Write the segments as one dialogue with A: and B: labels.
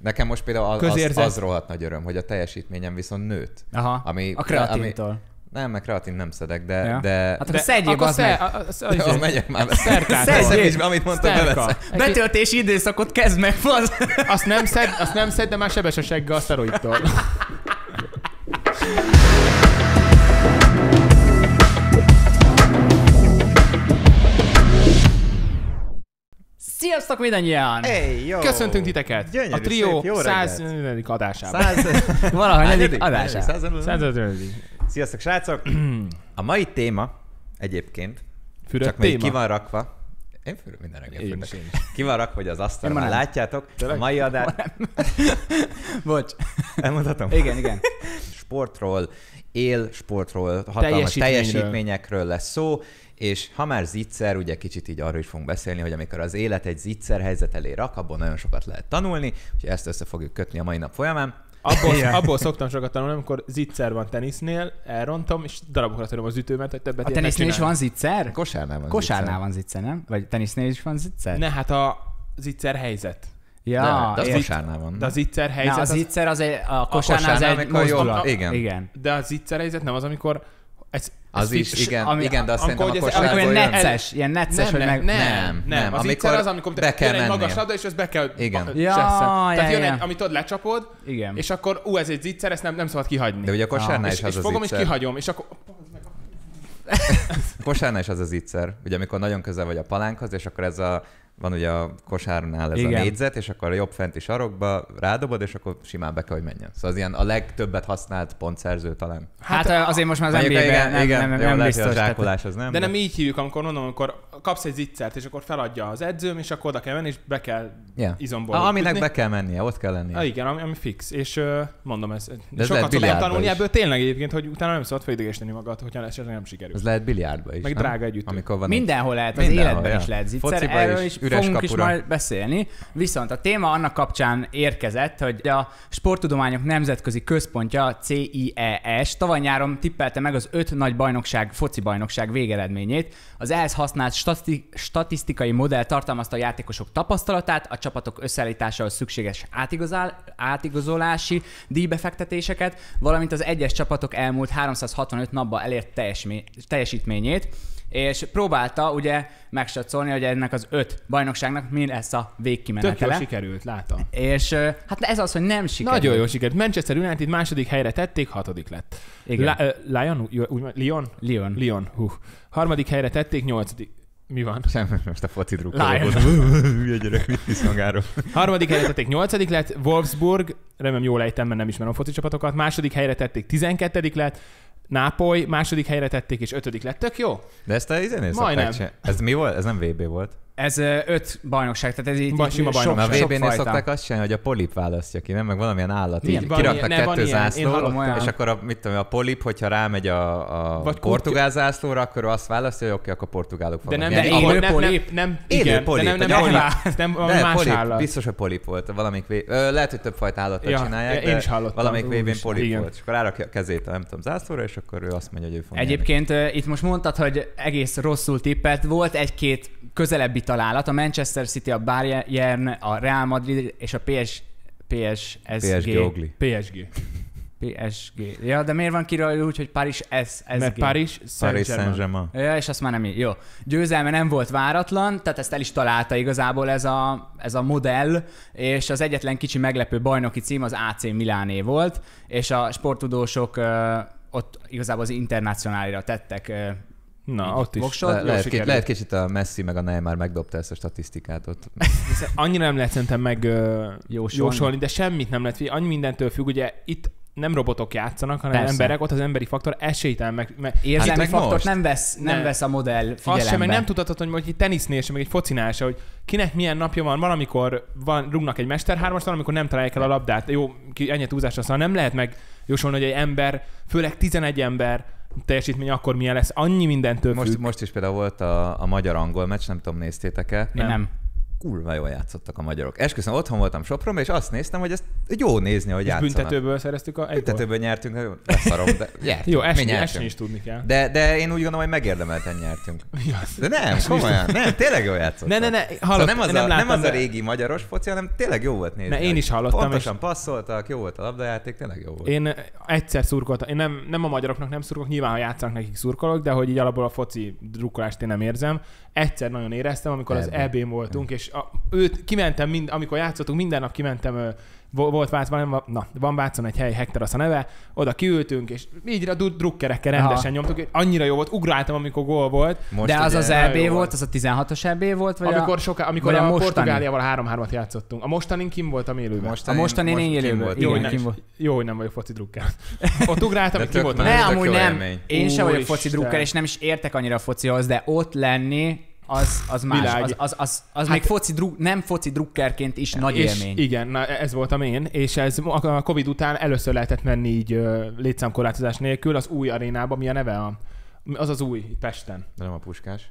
A: Nekem most például az, az,
B: Közérzet.
A: az rohadt nagy öröm, hogy a teljesítményem viszont nőtt.
B: Aha,
A: Ami-
B: a kreatintól. Ami...
A: Nem, meg kreatin nem szedek, de...
B: Ja.
A: Ja. de
B: Hát akkor szedjél,
C: akkor
B: az
C: sze-
B: meg.
C: a- a- az-
A: de
C: az-
A: az megyek már veszek.
C: Szerkát.
A: Veszek is,
B: Szedjél.
A: amit mondtam,
C: izé- Szerka.
A: beveszek.
B: Betöltési időszakot kezd meg, az.
C: Azt nem szed, azt nem szed, de már sebes a segge a szteroidtól.
B: Sziasztok mindannyian!
A: Hey, jó.
C: Köszöntünk titeket!
A: Gyönyörű,
C: a
A: szép, jó
C: trió
A: reggelt.
C: 100. adásában.
A: Száz...
B: Valahogy
A: Hányadik?
B: adásá.
A: Száz-
C: 100.
A: Sziasztok, srácok! A mai téma egyébként,
C: Füröd
A: csak még
C: téma?
A: ki van rakva, én füröd minden reggel
C: Én
A: fürdök.
C: is, én
A: Ki van rakva, hogy az asztalon
B: Én
A: már
B: ma nem.
A: látjátok. A mai adás...
B: Bocs.
A: Elmondhatom?
B: Igen, igen.
A: sportról, él sportról, hatalmas
C: Teljesítményről.
A: teljesítményekről lesz szó, és ha már zicser, ugye kicsit így arról is fogunk beszélni, hogy amikor az élet egy zicser helyzet elé rak, abból nagyon sokat lehet tanulni, úgyhogy ezt össze fogjuk kötni a mai nap folyamán.
C: Abból, abból szoktam sokat tanulni, amikor zicser van tenisznél, elrontom, és darabokra töröm az ütőmet, hogy többet
B: A
C: ilyet ne
B: tenisznél is
C: csinálj.
B: van zicser?
A: Kosárnál van
B: Kosárnál
A: zicser.
B: van zicser, nem? Vagy tenisznél is van zicser?
C: Ne, hát a zicser helyzet.
B: Ja,
A: Nem, de az
B: értem.
A: kosárnál van.
C: De a zicser
B: Na,
C: helyzet,
B: az
C: az,
B: zicser az egy, a kosárnál az
A: kosárnál,
B: egy
A: amikor jól-
B: mozdulat.
A: igen.
B: igen.
C: de a zicser helyzet nem az, amikor ez,
A: Az
C: ez
A: is,
C: vicc-
A: igen,
B: ami-
A: igen, de azt
C: amikor
A: szerintem a
C: ugye ez- amikor
A: kosárból
B: Amikor ilyen
A: jön.
C: net-
B: necces, ilyen
C: nem,
B: necces, hogy meg...
C: nem, nem,
A: Nem,
C: nem,
A: nem,
C: Az
A: amikor
C: amikor az, amikor
A: be
C: te
A: kell
C: jön egy magas
A: mennél.
C: labda, és ezt be kell
A: Igen.
C: ba-
B: Ja,
C: cseszel.
B: ja,
C: Tehát jön
B: ja.
C: egy, amit ott lecsapod,
B: Igen.
C: és akkor ú, ez egy zicser, ezt nem, nem szabad kihagyni.
A: De ugye a kosárnál
C: és,
A: is az
C: és
A: az
C: fogom, és
A: zicser.
C: kihagyom, és akkor
A: Kosárnál is az az ígyszer, ugye amikor nagyon közel vagy a palánkhoz, és akkor ez a van ugye a kosárnál ez Igen.
B: Igen.
A: a négyzet, és akkor a jobb fenti sarokba rádobod, és akkor simán be kell, hogy menjen. Szóval az ilyen a legtöbbet használt pontszerző talán.
B: Hát azért most már az
A: Mondjuk,
B: NBA-ben nem, nem,
A: jó,
B: nem, nem
A: lehet, hogy
B: biztos.
A: A
B: tehát-
A: zsákolás az nem.
C: De nem így hívjuk, amikor mondom, amikor kapsz egy zicsert, és akkor feladja az edzőm, és akkor oda kell menni, és be kell
A: yeah.
C: izomból.
A: Ah, aminek
C: ütni.
A: be kell mennie, ott kell lennie.
C: Ah, igen, ami, ami fix. És ö, mondom, ez,
A: lehet
C: ez sokat szoktam
A: biliárdban
C: tanulni
A: is.
C: ebből tényleg egyébként, hogy utána nem szabad felidegesíteni magad, hogyha esetleg nem sikerül.
A: Ez lehet biliárdba is.
C: Meg
A: nem?
C: drága egy ütő.
A: Amikor van egy...
B: Mindenhol lehet, az
A: Mindenhol,
B: életben
A: ja.
B: is lehet zicser,
A: Fociba
B: erről
A: is,
B: is,
A: üres
B: fogunk is
A: kapura.
B: majd beszélni. Viszont a téma annak kapcsán érkezett, hogy a Sporttudományok Nemzetközi Központja CIES E tavaly nyáron tippelte meg az öt nagy bajnokság, foci bajnokság végeredményét. Az ehhez használt stati- statisztikai modell tartalmazta a játékosok tapasztalatát, a csapatok összeállításához szükséges átigazál, átigazolási díjbefektetéseket, valamint az egyes csapatok elmúlt 365 napban elért teljesmi- teljesítményét és próbálta ugye megsatszolni, hogy ennek az öt bajnokságnak mi lesz a
C: Tök jól
B: végkimenetele.
C: sikerült, látom.
B: És ö, hát ez az, hogy nem sikerült.
C: Nagyon jól sikerült. Manchester United második helyre tették, hatodik lett.
B: Igen.
C: La, ö, Lion? Ú- jó, Úgy, mond- Lyon?
B: Lyon.
C: Lyon, hú. Harmadik helyre tették, nyolcadik. Mi van?
A: Sem, most a foci
B: Lion.
A: drukkolóból. Hülye gyerek, mit hisz magáról?
C: Harmadik helyre tették, nyolcadik lett. Wolfsburg, remélem jól ejtem, mert nem ismerem a foci csapatokat. Második helyre tették, tizenkettedik lett. Nápoly második helyre tették, és ötödik lett. Tök jó.
A: De ezt a izénél
C: Majdnem.
A: szokták csinálni. Ez mi volt? Ez nem VB volt.
B: Ez ö, öt bajnokság, tehát ez így
C: Ba- sima
B: így sok,
C: bajnokság.
A: Mert a
B: sok
A: VB-nél
B: fajta.
A: szokták azt csinálni, hogy a polip választja ki, nem? Meg valamilyen állat.
B: Milyen?
A: Így
C: Van
A: kiraknak
C: ilyen, ne, van
A: kettő
C: ilyen. Én
A: zászlót,
C: hallottam
B: olyan.
A: és akkor a, mit tudom, én, a polip, hogyha rámegy a, a
C: Vagy
A: Vagy portugál zászlóra, akkor ő azt választja, hogy oké, akkor portugálok
C: De
A: fognak
C: nem,
A: nyerni.
C: nem,
B: de
A: Ahol-
B: élő
C: nem, nem, nem,
B: polip?
C: nem,
A: Élő
C: igen,
A: polip,
C: de nem,
A: vagy
C: nem, polip,
B: állat.
C: nem, valami
A: de
C: más
A: polip,
C: állat.
A: biztos, hogy polip volt. Valamik vé... Ö, lehet, hogy többfajta állatot
C: Ja,
A: ja, csinálják,
C: én
A: de
C: is hallottam.
A: valamik vb-n
C: Úristen,
A: polip
C: igen.
A: volt. És akkor rárakja a kezét a nem tudom, zászlóra, és akkor ő azt mondja, hogy ő fog nyerni.
B: Egyébként ö, itt most mondtad, hogy egész rosszul tippelt. Volt egy-két közelebbi találat. A Manchester City, a Bayern, a Real Madrid és a PS, PSG.
A: PSG Ogli.
C: PSG.
B: PSG. Ja, de miért van kirajul úgy, hogy Paris SSG?
C: Mert Paris
A: Paris
C: Saint-Germain.
A: Saint-Germain.
B: Ja, és azt már nem így. Jó. Győzelme nem volt váratlan, tehát ezt el is találta igazából ez a, ez a modell, és az egyetlen kicsi meglepő bajnoki cím az AC Miláné volt, és a sporttudósok ö, ott igazából az internacionálira tettek. ö,
C: Na, ott is.
B: voksot.
A: Le,
C: Jól
A: lehet, kicsit,
C: sikerült.
A: lehet kicsit a Messi meg a Neymar megdobta ezt a statisztikát ott.
C: annyira nem lehet szerintem meg ö,
B: Jósolni.
C: jósolni. jósolni, de semmit nem lehet. Annyi mindentől függ, ugye itt nem robotok játszanak, hanem
B: Persze.
C: Persze. emberek, ott az emberi faktor esélytelen meg, meg
B: Érzelmi
A: meg
B: hát faktort
A: most?
B: nem vesz, nem
C: Ne.
B: vesz a modell
C: azt sem, meg
B: figyelembe.
C: nem tudhatod, hogy mondjuk egy tenisznél sem, meg egy focinál sem, hogy kinek milyen napja van, valamikor van, rúgnak egy mesterhármast, valamikor nem találják el a labdát. Jó, ki, ennyi túlzásra, szóval nem lehet meg jósolni, hogy egy ember, főleg 11 ember teljesítmény akkor milyen lesz. Annyi mindentől
A: Most,
C: függ.
A: most is például volt a, a magyar-angol meccs, nem tudom, néztétek-e?
B: Én nem.
A: kurva jól játszottak a magyarok. Esküszöm, otthon voltam Sopronban, és azt néztem, hogy ezt jó nézni, hogy
C: És
A: játszanak.
C: büntetőből szereztük a egy gólt.
A: Büntetőből nyertünk, nagyon leszarom, de nyertünk.
C: Jó,
A: Mi
C: esni,
A: nyertünk.
C: esni is tudni kell.
A: De, de én úgy gondolom, hogy megérdemelten nyertünk. De nem, komolyan, nem, tényleg jól játszott.
C: Ne, ne, ne, hallott,
A: szóval nem az,
C: nem
A: a,
C: láttam,
A: nem az a
C: de-
A: régi magyaros foci, hanem tényleg jó volt nézni.
C: Ne, én is hallottam,
A: Pontosan és... passzoltak, jó volt a labdajáték, tényleg jó volt. Én...
C: Én egyszer szurkoltam, én nem, nem a magyaroknak nem szurkolok, nyilván ha játszanak nekik szurkolok, de hogy így alapból a foci drukkolást én nem érzem. Egyszer nagyon éreztem, amikor az
A: Ebben.
C: EB-n voltunk, és a, őt kimentem, mind, amikor játszottunk, minden nap kimentem, ö, vo- volt Vácban, nem, na, van Vácon egy hely, Hektor az a neve, oda kiültünk, és így a du- drukkerekkel
B: Aha.
C: rendesen nyomtuk, és annyira jó volt, ugráltam, amikor gól volt,
A: Most
B: De az
A: ugye-
B: az
C: nagyon
B: EB
C: jó
B: volt,
C: volt.
B: az a 16-os EB volt, vagy
C: amikor,
B: a...
C: soká, amikor
B: vagy a
C: a,
B: mostani?
C: Portugáliával 3-3-at játszottunk. A mostanin kim voltam élőben.
A: Most
B: A mostani én
A: kim
B: élőből.
A: volt?
B: Jó,
C: Jó,
A: Jó,
C: hogy
A: nem.
B: igen, kim
C: nem,
B: volt.
C: jó, hogy nem vagyok foci drukker. Ott ugráltam,
A: De
C: és
A: tök
C: ki voltam.
A: más.
B: Ne,
A: Ez tök
B: amúgy
A: jó
B: nem.
A: élmény.
B: Én sem vagyok foci
C: Úristen.
B: drukker, és nem is értek annyira a focihoz, de ott lenni, az, az más.
C: Világ. Hát
B: Az, az, az, az még foci dru- nem foci drukkerként is nagy
C: és
B: élmény.
C: Igen, na, e, ez voltam én, és ez a a Covid után először lehetett menni így ö, létszámkorlátozás nélkül az új arénába, mi a neve a, az az új itt Pesten.
A: De nem a puskás.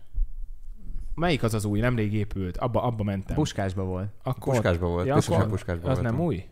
C: Melyik az az új? Nemrég épült, abba, abba mentem.
B: Puskásba volt.
C: akkor,
A: Puskásban volt,
C: ja,
A: biztos,
C: akkor,
A: hogy puskásban
C: Az
A: voltam.
C: nem új?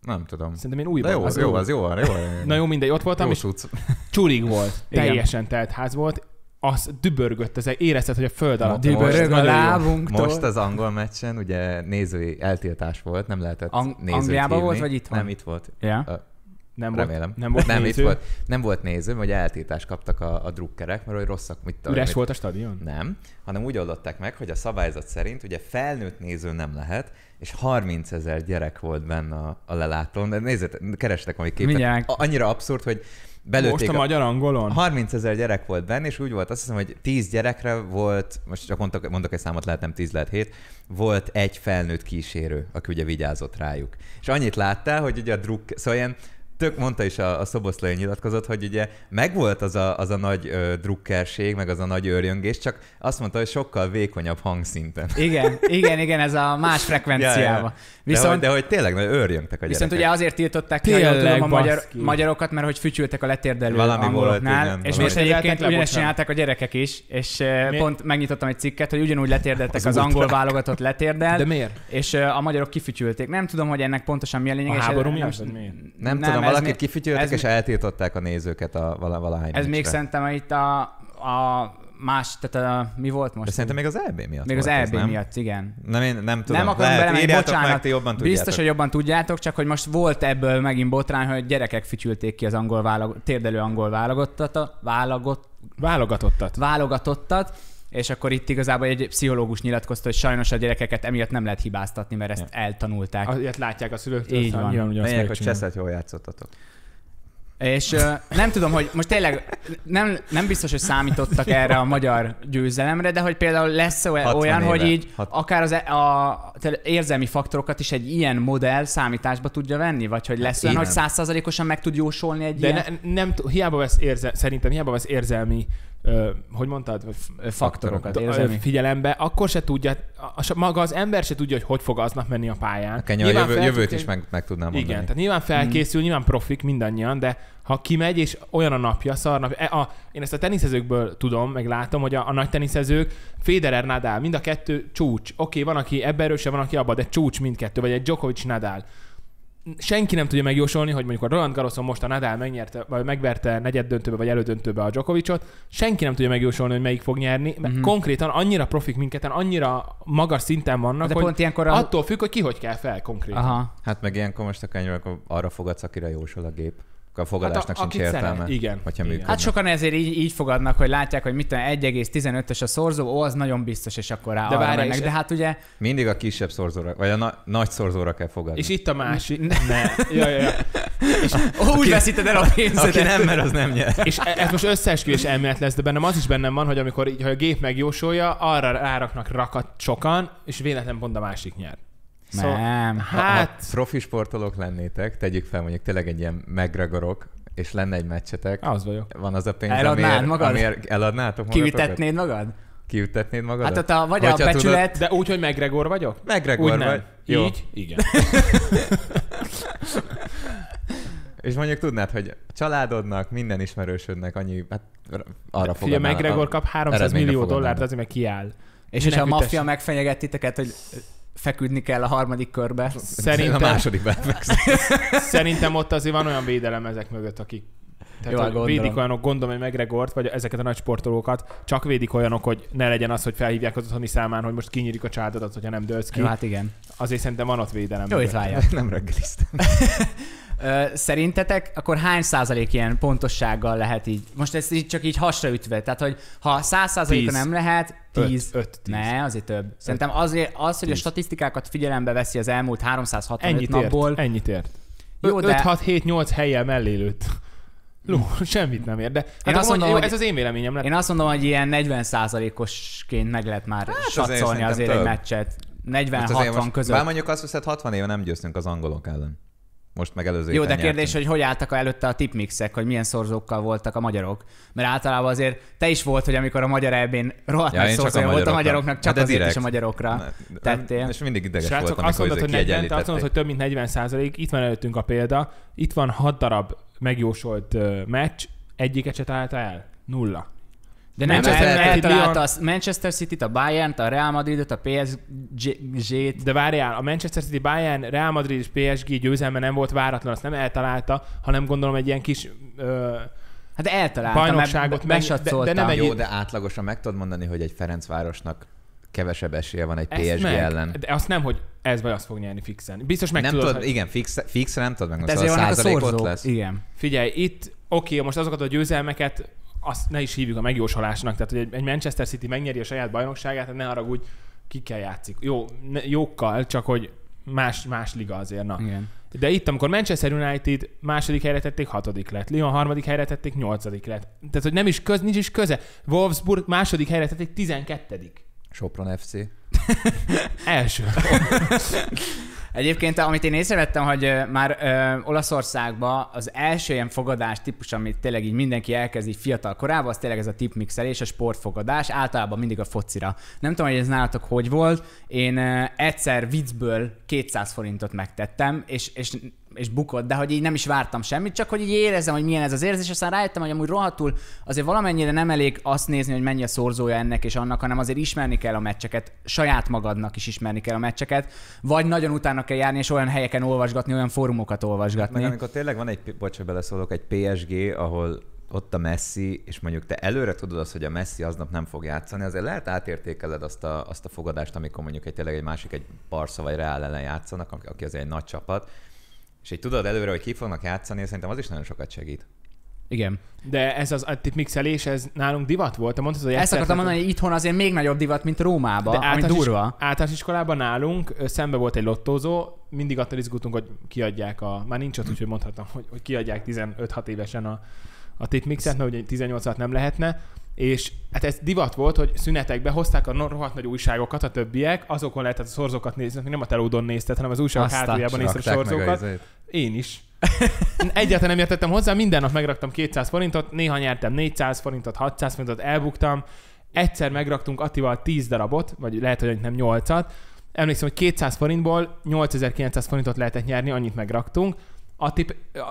A: Nem tudom.
C: Szerintem én új
A: De jó, az jó, az jó, az jó.
C: Na jó, mindegy, ott voltam,
A: jó
C: és
A: cucc.
C: csurig volt.
B: Igen.
C: Teljesen telt ház volt. Az dübörgött, ez érezted, hogy a föld alatt
A: Most-
C: van.
B: Dübörög a
C: Nagyon jó.
B: lábunktól.
A: Most az angol meccsen ugye nézői eltiltás volt, nem lehetett
B: Ang-
A: nézőt
B: Angliában
A: hívni.
B: volt, vagy itthon?
A: Nem, itt volt.
B: Ja.
C: Nem volt,
A: Remélem.
C: nem volt
A: nem,
C: nem,
A: itt
C: néző.
A: volt, nem volt néző, hogy eltiltást kaptak a, a drukkerek, mert hogy rosszak, mit tudom.
C: Üres
A: mit-
C: volt a stadion?
A: Nem, hanem úgy oldották meg, hogy a szabályzat szerint ugye felnőtt néző nem lehet, és 30 ezer gyerek volt benne a, a lelátón. De nézzétek, kerestek majd képet.
B: Mindjárt.
A: A- Annyira abszurd, hogy
C: Most
A: belőtték
C: a magyar angolon?
A: 30 ezer gyerek volt benne, és úgy volt, azt hiszem, hogy 10 gyerekre volt, most csak mondok, mondok egy számot, lehet nem 10, lehet 7, volt egy felnőtt kísérő, aki ugye vigyázott rájuk. És annyit láttál, hogy ugye a druk, szóval ilyen tök mondta is a, a szoboszlai nyilatkozott, hogy ugye megvolt az a, az a nagy ö, drukkerség, meg az a nagy őrjöngés, csak azt mondta, hogy sokkal vékonyabb hangszinten.
B: Igen, igen, igen, ez a más
A: Ja,
B: frekvenciába.
A: ja. de, hogy,
B: Viszont
A: de hogy tényleg nagyon őrjöngtek a
B: Viszont
A: gyerekek.
B: ugye azért tiltották ki, hogy
C: Tényleg,
B: a magyar,
C: baszki.
B: magarokat, mert hogy fütyültek a letérdelő
A: Valami
B: angoloknál,
A: volt, igen,
B: és
A: valami.
B: most egyébként
C: Letérdeltek
B: ugyanezt
C: lebocsán.
B: csinálták a gyerekek is, és eh,
C: Mi-
B: pont megnyitottam egy cikket, hogy ugyanúgy letérdeltek az,
A: Az
B: angol
A: ultrák.
B: válogatott letérdel,
C: De miért?
B: és eh, a magyarok kifütyülték. Nem tudom, hogy ennek pontosan mi a lényeg.
C: A
B: és
C: háború
B: ez-
C: miatt,
B: most-
C: vagy miért?
A: nem,
B: nem,
A: tudom,
B: ez
A: valakit
B: mi- ez
A: kifütyültek,
B: mi-
A: és eltiltották a nézőket a vala, valahány
B: Ez még
A: meccsre.
B: szerintem itt a, a más, tehát a, mi volt
A: De
B: most?
A: szerintem még az EB miatt
B: Még az
A: volt ez,
B: EB
A: nem?
B: miatt, igen.
A: Nem, én nem tudom.
B: nem akarom
A: Lehet,
B: belemenni,
A: írjátok
B: bocsánat.
A: Meg, ti jobban tudjátok.
B: Biztos, hogy jobban tudjátok, csak hogy most volt ebből megint botrány, hogy gyerekek fütyülték ki az angol válog... térdelő angol válogattat, válogat...
C: Válogatottat.
B: válogatottat, és akkor itt igazából egy pszichológus nyilatkozta, hogy sajnos a gyerekeket emiatt nem lehet hibáztatni, mert ezt eltanulták.
C: A- Ilyet látják a szülőktől,
B: Így
C: aztán
B: van.
C: nyilván ugyanazt
A: Lényeg, hogy
C: fogják csinálni.
A: Cseszet jól játszottatok.
B: Hát És ö, nem tudom, hogy most tényleg nem, nem biztos, hogy számítottak erre a magyar győzelemre, de hogy például lesz olyan,
A: 60
B: olyan
A: éve.
B: hogy így
A: Hat-
B: akár az e- a, te- érzelmi faktorokat is egy ilyen modell számításba tudja venni, vagy hogy lesz olyan,
A: igen.
B: hogy százszázalékosan meg tud jósolni egy ilyen
C: De ne, nem, t- hiába vesz érze, szerintem hiába vesz érzelmi, ö, hogy mondtad, F-
B: ö, faktorokat,
C: d- ö,
B: érzelmi.
C: figyelembe, akkor se tudja, a, a, maga az ember se tudja, hogy hogy fog aznap menni a pályán.
A: A kenya a
C: Nyilván
A: jövő,
C: fel-
A: jövőt is meg, meg tudnám
C: Igen,
A: mondani.
C: tehát nyilván felkészül, mm. nyilván profik mindannyian, de ha kimegy, és olyan a napja, szar napja, e- a, én ezt a teniszezőkből tudom, meg látom, hogy a, a nagy teniszezők, Federer, Nadal, mind a kettő csúcs. Oké, okay, van, aki ebben erősebb, van, aki abban, de csúcs mindkettő, vagy egy Djokovic, Nadal. Senki nem tudja megjósolni, hogy mondjuk a Roland Garroson most a Nadal megnyerte, vagy megverte negyed döntőbe, vagy elődöntőbe a Djokovicot. Senki nem tudja megjósolni, hogy melyik fog nyerni, mert
B: Mhm.
C: mm-hmm. konkrétan annyira profik mindketten, annyira magas szinten vannak,
B: De
C: hogy
B: pont ilyenkor a-
C: attól függ, hogy ki hogy kell fel konkrétan.
B: Aha.
A: Hát meg ilyenkor most a könyvben akkor arra fogadsz, akire jósol a gép. Akkor A fogadásnak
C: Hát a-
A: hát a, sincs
C: akit szeret.
A: értelme.
C: Igen.
A: Hogyha
C: Igen.
A: működik.
B: Hát sokan ezért így, így fogadnak, hogy látják, hogy mit tudom, 1,15-ös a szorzó, ó, az nagyon biztos, és akkor rá
C: De
B: de arra
C: várj,
B: mennek.
C: és-
B: De hát ugye
A: Mindig a kisebb szorzóra, vagy a na- nagy szorzóra kell fogadni.
C: És itt a másik. Ne. Ja, ja, ja.
B: ó, úgy veszíted el a pénzedet.
A: Aki nem, mert az nem nyer.
C: És e- ez most összeesküvés elmélet lesz, de bennem az is bennem van, hogy amikor így, ha a gép megjósolja, arra ráraknak rakat sokan, és véletlen pont a másik nyer.
B: Nem.
A: Hát...
C: Hát,
A: Ha profi sportolók lennétek, tegyük fel mondjuk tényleg egy ilyen megregorok, és lenne egy meccsetek,
C: az vagyok.
A: van az a pénz,
B: Eladnád
A: amiért,
B: Ah. magad?
A: amiért eladnátok magatokat?
B: Kiütetnéd magad?
A: Kiütetnéd magadat?
B: Hát ott a, vagy a
A: Hogyha tudod-
B: becsület,
C: De úgy, hogy megregor vagyok?
A: Megregor
C: Úgy
A: vagy.
C: nem.
A: Jó.
C: Így? Igen.
A: És mondjuk tudnád, hogy a családodnak, minden ismerősödnek annyi, hát r- arra
C: Figyelj,
A: fogadnának.
C: megregor kap 300
A: eredményre
C: millió
A: fogadnának.
C: dollárt, azért meg kiáll.
B: És hogyha a
C: Nekütesse.
B: maffia megfenyeget titeket, hogy feküdni kell a harmadik körbe.
A: Szerintem... A
C: Szerintem,
A: másodikban fekszem.
C: szerintem ott azért van olyan védelem ezek mögött, akik tehát
B: Jó,
C: hogy
B: gondolom.
C: védik olyanok, gondolom, hogy megregort, vagy ezeket a nagy sportolókat, csak védik olyanok, hogy ne legyen az, hogy felhívják az otthoni számán, hogy most kinyírjuk a csádodat, hogyha nem dőlsz ki.
B: Jó, hát igen.
C: Azért szerintem van ott védelem.
B: Jó
C: mögött.
B: étvágyat.
A: Nem reggeliztem.
B: Ö, Szerintetek akkor hány százalék ilyen pontossággal lehet így? Most ezt így csak így hasra ütve. Tehát, hogy ha száz százaléka
C: Tíz.
B: nem lehet,
C: Öt-
B: tíz.
C: öt, tíz.
B: Ne, azért több. Szerintem azért az, hogy a
A: Tíz.
B: statisztikákat figyelembe veszi az elmúlt 365
C: Ennyit ért,
B: napból.
C: ennyit ért.
B: Jó,
C: Jó,
B: de-
C: 5, 6, 7, 8 helyjel mellé lőtt. Lú, semmit nem ér, de hát
B: Én
C: én
B: azt
C: azt
B: mondom,
C: jó,
B: hogy-
C: ez az én véleményem lett.
B: Én azt mondom, hogy ilyen 40 százalékosként meg lehet már hát
A: azért
B: satszolni
A: szerintem
B: azért, egy
A: több.
B: meccset.
A: Most Hát azért
B: 40-60
A: most-
B: között.
A: Bár mondjuk azt hiszed, 60 éve nem győztünk az angolok ellen. Most meg előző
B: Jó, de
A: héten
B: kérdés,
A: nyertünk.
B: hogy hogy álltak előtte a tipmixek, hogy milyen szorzókkal voltak a magyarok? Mert általában azért te is volt, hogy amikor a magyar elbén rohadt
A: Ja,
B: ja,
A: én csak a
B: szorzója volt a
A: magyarokra.
B: magyaroknak, csak
A: De
B: azért
A: direkt.
B: is a magyarokra.
A: Ne- nem-
B: tettél.
A: hát, És mindig ideges
C: Srácok,
A: voltam,
C: azt
A: amikor
C: mondod,
A: izé
C: hogy 40, te azt
A: kiegyenlítették.
C: mondod, hogy több mint 40 százalék. Itt van előttünk a példa. Itt van 6 darab megjósolt ö, meccs, egyiket se találta el. Nulla.
B: De nem,
A: Nem,
B: Manchester,
A: ez
B: el,
A: lehet,
B: eltalálta
C: Lyon-
B: a Manchester City-t, a Bayern-t, a Real Madrid-ot, a PSG-t.
C: De várjál, a Manchester City, Bayern, Real Madrid és PSG győzelme nem volt váratlan, azt nem eltalálta, hanem gondolom egy ilyen kis ö,
B: Hát eltalálta,
C: Bajnokságot
B: mert
C: meg-
B: besatszolta.
C: de- de nem egy-
A: Jó, de átlagosan meg tudod mondani, hogy egy Ferencvárosnak kevesebb esélye van egy
C: ezt
A: PSG
C: meg,
A: ellen.
C: De azt nem, hogy ez vagy azt fog nyerni fixen. Biztos meg
A: nem
C: tudod,
A: tudod,
C: hogy- Hát
A: igen, fix, fixre nem tudod
B: De
A: megmondani,
B: ezért
A: szóval a
B: vannak a
A: százalék
B: szorzók.
A: ott lesz.
B: Igen.
C: Figyelj, itt oké, most azokat a győzelmeket, azt ne is hívjuk a megjósolásnak. Tehát, hogy egy- egy Manchester City megnyeri a saját bajnokságát, hát ne haragudj, kikkel játszik. Jó, ne, jókkal, csak hogy más, más liga azért.
A: Ah.
C: Na.
B: Igen.
C: De itt, amikor Manchester United második helyre tették, hatodik lett. Lyon harmadik helyre tették, nyolcadik lett. Tehát, hogy nem is köz, nincs is köze. Wolfsburg második helyre tették, tizenkettedik.
A: Sopron FC.
C: Első.
B: Egyébként, amit én észrevettem, hogy ö, már ö, Olaszországban az első ilyen fogadás típus, amit tényleg így mindenki elkezd így fiatal korában, az tényleg ez a tipmixelés, a sportfogadás, általában mindig a focira. Nem tudom, hogy ez nálatok hogy volt, én ö, egyszer viccből 200 forintot megtettem, és, és és bukott, de hogy így nem is vártam semmit, csak hogy így érezem, hogy milyen ez az érzés, aztán rájöttem, hogy amúgy rohadtul azért valamennyire nem elég azt nézni, hogy mennyi a szorzója ennek és annak, hanem azért ismerni kell a meccseket, saját magadnak is ismerni kell a meccseket, vagy nagyon utána kell járni és olyan helyeken olvasgatni, olyan fórumokat
A: Meg
B: olvasgatni.
A: amikor tényleg van egy, bocs, hogy beleszólok, egy PSG, ahol ott a Messi, és mondjuk te előre tudod azt, hogy a Messi aznap nem fog játszani, azért lehet átértékeled azt a, azt a fogadást, amikor mondjuk egy tényleg egy másik, egy Barca vagy Real ellen játszanak, aki- aki azért egy nagy csapat, és így tudod előre, hogy ki fognak játszani, és szerintem az is nagyon sokat segít.
B: Igen.
C: De ez az mixelés, ez nálunk divat volt. Te mondtad, hogy
B: Ezt
C: egyszer-
B: akartam mondani, hogy itthon azért még nagyobb divat, mint Rómában, ami
C: általános is-
B: durva.
C: általános iskolában nálunk ö, szembe volt egy lottózó, mindig attól izgultunk, hogy kiadják a... Már nincs ott, úgyhogy mondhatom, hogy, hogy kiadják 15-6 évesen a, a tipmixet, mert ugye 18 at nem lehetne. És hát ez divat volt, hogy szünetekbe hozták a no- rohadt nagy újságokat, a többiek, azokon lehetett a szorzókat nézni, nem a telódon nézted, hanem az újságok
B: Aztán
C: hátuljában nézted a
A: Rakták meg
C: szorzókat.
A: izét.
C: Én is. Egyáltalán nem értettem hozzá, minden nap megraktam 200 forintot, néha nyertem 400 forintot, 600 forintot, elbuktam. Egyszer megraktunk Attival 10 darabot, vagy lehet, hogy nem 8-at. Emlékszem, hogy 200 forintból 8900 forintot lehetett nyerni, annyit megraktunk. Atti,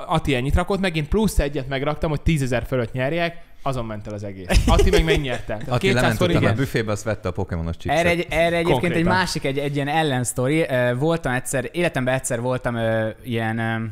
C: Atti ennyit rakott meg, én plusz egyet megraktam, hogy 10.000 fölött nyerjek, azon ment el az egész. Atti meg megnyerte. Tehát
A: Aki lement utána a
C: igen.
A: büfébe, azt vette a Pokémonos chipset.
B: Erre, egy, erre egyébként egy
C: Konkrétan.
B: másik, egy, egy ilyen ellensztori. Ö, Voltam egyszer, életemben egyszer voltam ö, ilyen, ö,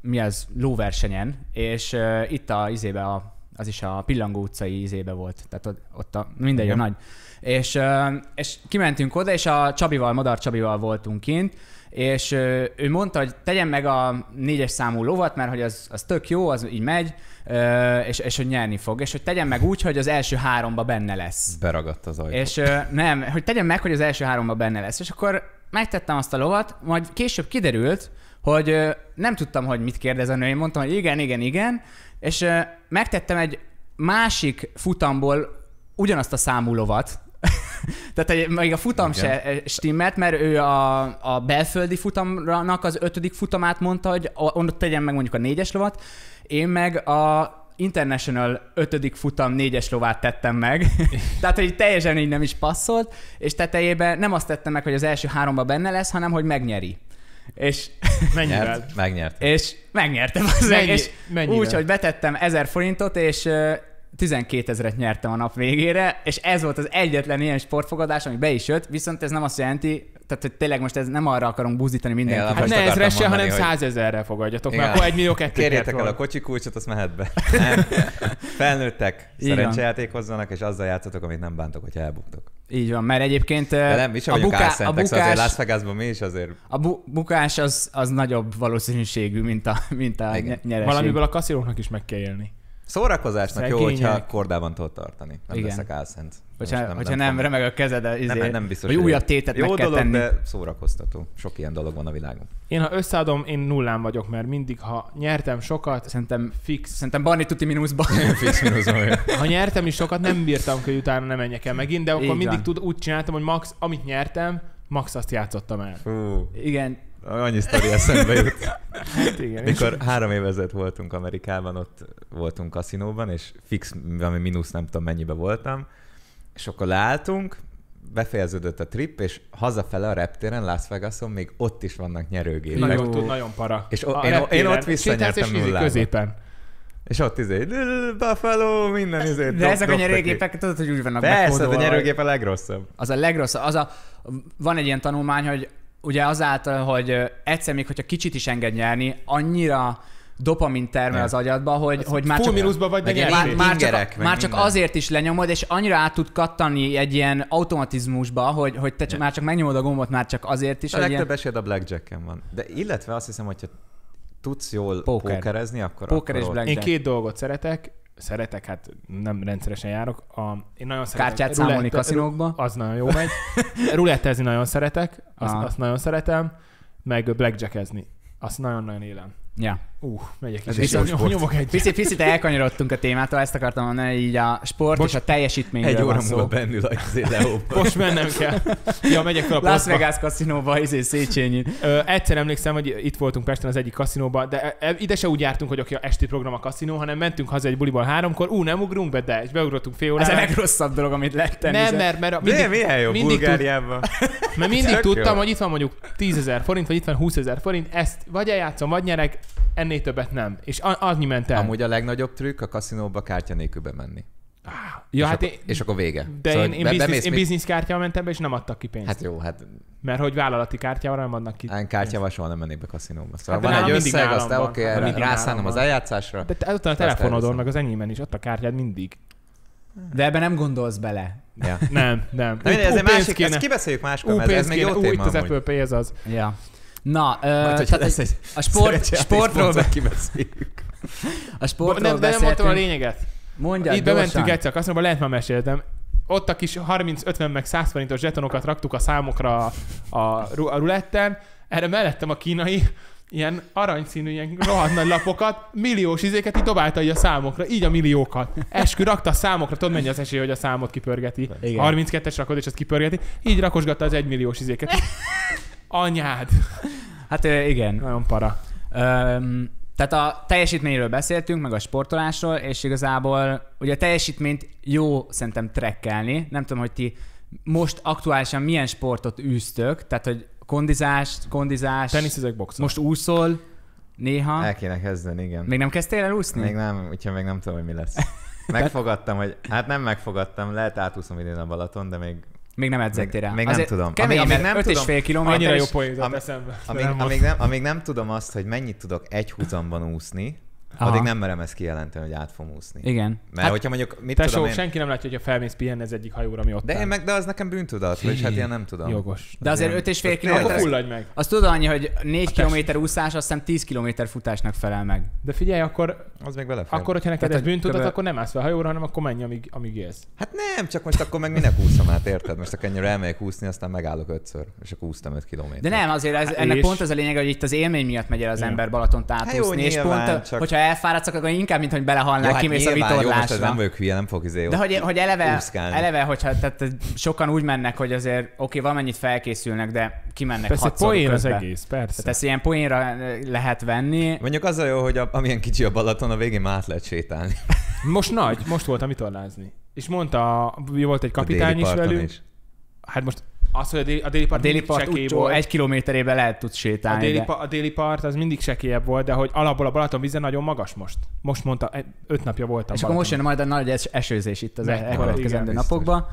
B: mi az, lóversenyen, és ö, itt a izébe a az is a Pillangó utcai izébe volt, tehát ott, ott a, mindegy, a
A: Igen.
B: nagy. És, ö, és kimentünk oda, és a Csabival, Madar Csabival voltunk kint, és ö, ő mondta, hogy tegyen meg a négyes számú lovat, mert hogy az, az tök jó, az így megy, ö, és, és hogy nyerni fog, és hogy tegyen meg úgy, hogy az első háromba benne lesz.
A: Beragadt az ajtó.
B: És ö, nem, hogy tegyem meg, hogy az első háromba benne lesz. És akkor megtettem azt a lovat, majd később kiderült, hogy ö, nem tudtam, hogy mit kérdez a nő. Én mondtam, hogy igen, igen, igen. És ö, megtettem egy másik futamból ugyanazt a számú lovat. Tehát egy, még a futam
A: Igen.
B: se ö, stimmelt, mert ő a, a belföldi futamnak az ötödik futamát mondta, hogy o- ott tegyen meg mondjuk a négyes lovat. Én meg a International ötödik futam négyes lovát tettem meg. Tehát, hogy teljesen így nem is passzolt, és tetejében nem azt tettem meg, hogy az első háromba benne lesz, hanem hogy megnyeri. És,
C: Mennyivel?
A: Nyert, megnyert.
B: és megnyertem az
C: Mennyi-
B: és
C: mennyivel?
B: úgy, hogy betettem 1000 forintot, és ö, 12 ezeret nyertem a nap végére, és ez volt az egyetlen ilyen sportfogadás, ami be is jött, viszont ez nem azt jelenti, tehát hogy tényleg most ez nem arra akarunk buzdítani mindenkit.
A: Igen,
B: Hát
A: Most
C: Hát ne
A: akartam
C: ezre se,
A: mondani,
C: hanem
A: hogy-
C: százezerre fogadjatok, mert
A: Igen.
C: akkor egy millió kettő
A: Kérjétek el a kocsi kulcsot, azt mehet be. Nem. Felnőttek,
B: Így van.
A: szerencsejáték hozzanak, és azzal játszatok, amit nem bántok, hogyha elbuktok.
B: Így van, mert egyébként ö,
A: De nem, mi sem vagyunk
B: E, buká-
A: buká- a bukás... szóval azért Las Vegasban mi is azért
B: a bu- bukás az, az nagyobb valószínűségű, mint a, mint a
A: Igen.
B: nye- nyereség.
C: Valamiből a kaszíróknak is meg kell élni.
A: szórakozásnak jó,
C: Szegények.
A: hogyha kordában tudod tartani. Nem
B: Igen.
A: Igen. leszek álszent.
B: Hogyha,
A: Most
B: nem, hogyha nem,
A: fog-
B: remeg a kezed, izé,
A: nem, nem biztos,
B: hogy
A: hogy
B: újabb tétet
A: jó
B: meg kell
A: dolog,
B: tenni.
A: de szórakoztató. Sok ilyen dolog van a világon.
C: Én ha összeadom, én nullán vagyok, mert mindig, ha nyertem sokat,
B: Szerintem,
C: fix.
B: szerintem Barni tuti mínuszban.
A: Fix minusz olyan.
C: Ha nyertem is sokat, nem bírtam, hogy utána nem menjek el megint, de
B: Így
C: akkor mindig
B: van.
C: tud, úgy csináltam, hogy max, amit nyertem, max azt játszottam el.
A: Fú,
B: Igen,
A: annyi sztori eszembe jut.
C: Hát igen. és-
A: Mikor három év ezelőtt voltunk Amerikában, ott voltunk kaszinóban, és fix, valami mínusz nem tudom mennyibe voltam, és akkor leálltunk, befejeződött a trip, és hazafele a reptéren, Las Vegason, még ott is vannak nyerőgépek.
C: Nagyon
B: Jó.
C: tud, nagyon para.
A: És o-
C: A
A: én- én
C: reptéren
A: ott visszanyertem
C: sétálsz, és ízik
A: nullába.
C: középen.
A: És ott izé, Buffalo, minden izé.
B: de
A: drop-
B: ezek a
A: droptak
B: nyerőgépek, tudod, hogy úgy
A: ki.
B: vannak
A: Persze, de
B: megkódolva.
A: a nyerőgép a legrosszabb.
B: Az a legrosszabb. Az a, van egy ilyen tanulmány, hogy ugye azáltal, hogy ö, egyszer még, hogyha kicsit is enged nyerni, annyira dopamin termel
A: Nem.
B: az agyadba, hogy, hogy már
C: Full
B: csak,
C: mínuszba vagy, de
A: Meg egy
C: nyertél.
B: már, már,
A: Ingerek,
B: csak,
A: meg
B: már csak
A: minden.
B: azért is lenyomod, és annyira át tud kattani egy ilyen automatizmusba, hogy, hogy te csak, már csak megnyomod a gombot, már csak azért is,
A: A
B: hogy
A: legtöbb
B: ilyen
A: esélyed a blackjacken van. De illetve azt hiszem, hogyha tudsz jól
B: Póker.
A: pókerezni, akkor...
B: Póker és
A: akkor ott-
B: blackjack.
C: Én két dolgot szeretek, szeretek, hát nem rendszeresen járok. A, én nagyon szeretem
B: kártyát számolni
C: rulette-
B: kaszinókba.
C: Az nagyon jó megy. Rulettezni nagyon szeretek, azt,
B: Aha.
C: azt nagyon szeretem, meg blackjackezni. Azt nagyon-nagyon élem.
B: Ja.
C: Uh, megyek
A: Ez is
C: is. és
A: jó
C: nyom-
A: sport.
C: Nyomok egy.
B: Picit, picit elkanyarodtunk a témától, ezt akartam mondani, így a sport
C: Bocs,
B: és a teljesítményről
A: Egy óra
B: van
A: múlva
B: szó.
A: bennül a izé leóban.
C: Most mennem kell. Ja, megyek fel a
B: Las
C: placba.
B: Vegas kaszinóba, izé Széchenyi.
C: Ö, egyszer emlékszem, hogy itt voltunk Pesten az egyik kaszinóban, de e- e- ide se úgy jártunk, hogy aki a esti program a kaszinó, hanem mentünk haza egy buliból háromkor, ú, nem ugrunk be, de és beugrottunk fél
B: Ez a
C: órára.
B: legrosszabb dolog, amit lehet tenni. izé.
C: Nem, mert, mert a-
A: Mindig,
C: mindig,
A: milyen, milyen jó,
C: mindig tud-
A: Bulgáriában.
C: Mert mindig
A: Tök
C: tudtam,
A: jó.
C: hogy itt van mondjuk 10 ezer forint, vagy itt van 20 ezer forint, ezt vagy eljátszom, vagy nyerek, ennél többet nem. És a- annyi ment el.
A: Amúgy a legnagyobb trükk a kaszinóba kártya nélkül bemenni.
C: ja,
A: és,
C: hát
A: akkor,
C: én,
A: és akkor vége. Szóval,
C: de én, én,
A: be-
C: biznisz,
A: bemész
C: én
A: még-
C: bizniszkártyával mentem be, és nem adtak ki pénzt.
A: Hát
C: Hát,
A: jó, hát
C: mert hogy vállalati kártyával nem adnak ki.
A: én kártyával soha nem mennék be kaszinóba.
C: Hát
A: Szóval
C: de
A: van egy
C: nálam mindig
A: összeg,
C: nálam
A: aztán
C: van.
A: oké,
C: Hát
A: erre
C: mindig nálam
A: rászánom az
C: van.
A: eljátszásra.
C: De te- ott van a
A: Aztán
C: telefonodon,
A: elviszem.
C: meg az enyémen is, ott a kártyád mindig.
B: De ebben nem gondolsz bele.
A: Ja.
C: Nem, nem.
A: Na,
C: Ú,
A: mindegy, ez
C: ú,
A: egy
C: pénz
A: másik,
C: kéne.
A: ezt kibeszéljük máskor,
C: Ú,
A: mert ez
C: pénz
A: még
C: kéne.
A: jó
C: Ú, hát itt
A: téma
C: az Apple
A: amúgy.
C: Pay, ez az.
B: Ja. Na, ö,
A: Majd, hogyha
B: tehát
A: lesz egy
B: a sport,
A: szerencsejáték
B: sportról,
A: sponsor,
B: be,
A: kibeszéljük.
B: a sportról
C: Nem, de nem mondtam a
B: beszéltünk.
C: lényeget.
B: Mondja,
C: Itt bementünk
B: egy...
C: egyszer a kaszinóba, lehet már meséltem. Ott a kis 30-50 meg 100 forintos zsetonokat raktuk a számokra a, a, ru- a ruletten. Erre mellettem a kínai ilyen aranyszínű, ilyen rohadt nagy lapokat, milliós izéket így dobálta így a számokra, így a milliókat. Eskü rakta a számokra, tudod mennyi az esély, hogy a számot kipörgeti.
B: Igen.
C: 32-es rakod, és azt kipörgeti. Így rakosgatta az egymilliós izéket. Anyád.
B: Hát ö, igen.
C: Nagyon para.
B: Öm, tehát a teljesítményről beszéltünk, meg a sportolásról, és igazából ugye a teljesítményt jó szerintem trekkelni. Nem tudom, hogy ti most aktuálisan milyen sportot űztök, tehát hogy kondizás, kondizás,
C: Teniszezek, boxol.
B: most úszol néha.
A: El kéne kezdeni, igen.
B: Még nem kezdtél el úszni?
A: Még nem, úgyhogy még nem tudom, hogy mi lesz. Megfogadtam, hogy hát nem megfogadtam, lehet átúszom idén a Balaton, de még
B: Még nem edzettél rá.
A: Még nem tudom.
B: Kemény,
A: Ami-
B: mert
A: amit nem
B: 5 és
A: tudom,
B: fél kilométer.
C: Annyira jó
B: és-
C: poént
A: am-
C: eszembe.
A: Amíg,
C: Nem
A: amíg, nem, amíg nem tudom azt, hogy mennyit tudok egy húzamban úszni,
B: Aha.
A: Aha. addig nem merem ezt kijelenteni, hogy át fogom úszni.
B: Igen.
A: Mert
B: Hát-
A: hát, hogyha mondjuk, mit
C: Tesó,
A: tudom én...
C: senki nem látja, hogy a felmész pihenni az egyik hajóra, mi ott
A: De
C: áll.
A: én meg, de az nekem bűntudat, vagyis hát ilyen nem tudom.
C: Jogos.
B: De azért
A: Ilyen-
B: 5 és fél
A: Tényleg.
C: Akkor
A: Akkor
B: kilométer.
C: fulladj meg.
B: Azt tudod annyi, hogy 4
C: A
B: km úszás, azt hiszem 10 km futásnak felel meg.
C: De figyelj, akkor,
A: Az még belefér.
C: akkor hogyha neked
B: Tehát,
C: ez
B: hogy
C: bűntudat,
B: kb.
C: akkor nem állsz fel hajóra, hanem akkor menj, amíg, amíg élsz.
A: Hát nem, csak most akkor meg minek úszom át, érted? Most akkor ennyire elmegyek úszni, aztán megállok ötször, és akkor úsztam öt kilométert.
B: De nem, azért ez, ennek
C: Hát és-
B: pont az a lényeg, hogy itt az élmény miatt megy el az
C: Ja.
B: ember Balatont
A: Hát jó,
B: átúszni, és
A: nyilván,
B: pont, a-
A: csak-
B: hogyha elfáradsz, akkor inkább, mint hogy belehalnál,
A: jó, hát
B: kimész a
A: nyilván, Jó, most ez
B: vitorlásra.
A: nem vagyok hülye, nem fog izé
B: De
A: ott-
B: hogy, hogy eleve,
A: úszkálni.
B: eleve, hogyha tehát sokan úgy mennek, hogy azért oké, valamennyit felkészülnek, de kimennek
C: Persze,
B: hatszor
C: poén az
B: közben.
C: egész, persze.
B: Tehát ezt ilyen poénra eh, lehet venni.
A: Mondjuk az a jó, hogy a, amilyen kicsi a Balaton, a végén már át lehet sétálni.
C: Most nagy, most voltam vitorlázni. És mondta, a- volt egy
A: a
C: kapitány
A: déli
C: is
A: parton
C: velünk. Hát most az, hogy a déli, a déli
B: A
C: part
B: déli
C: mindig
B: part
C: csekély
B: úgy
C: volt.
B: egy kilométerébe lehet tudsz
C: a
B: sétálni.
C: déli,
B: de-
C: pa, a déli part az mindig sekélyebb volt, de hogy alapból a Balaton vize nagyon magas most. Most mondta, egy- öt napja voltam
B: És akkor most
C: Balatonon.
B: jön majd a nagy es- esőzés itt az
C: Meg-
B: el-
C: majd,
B: elkövetkezendő
A: igen,
B: napokban.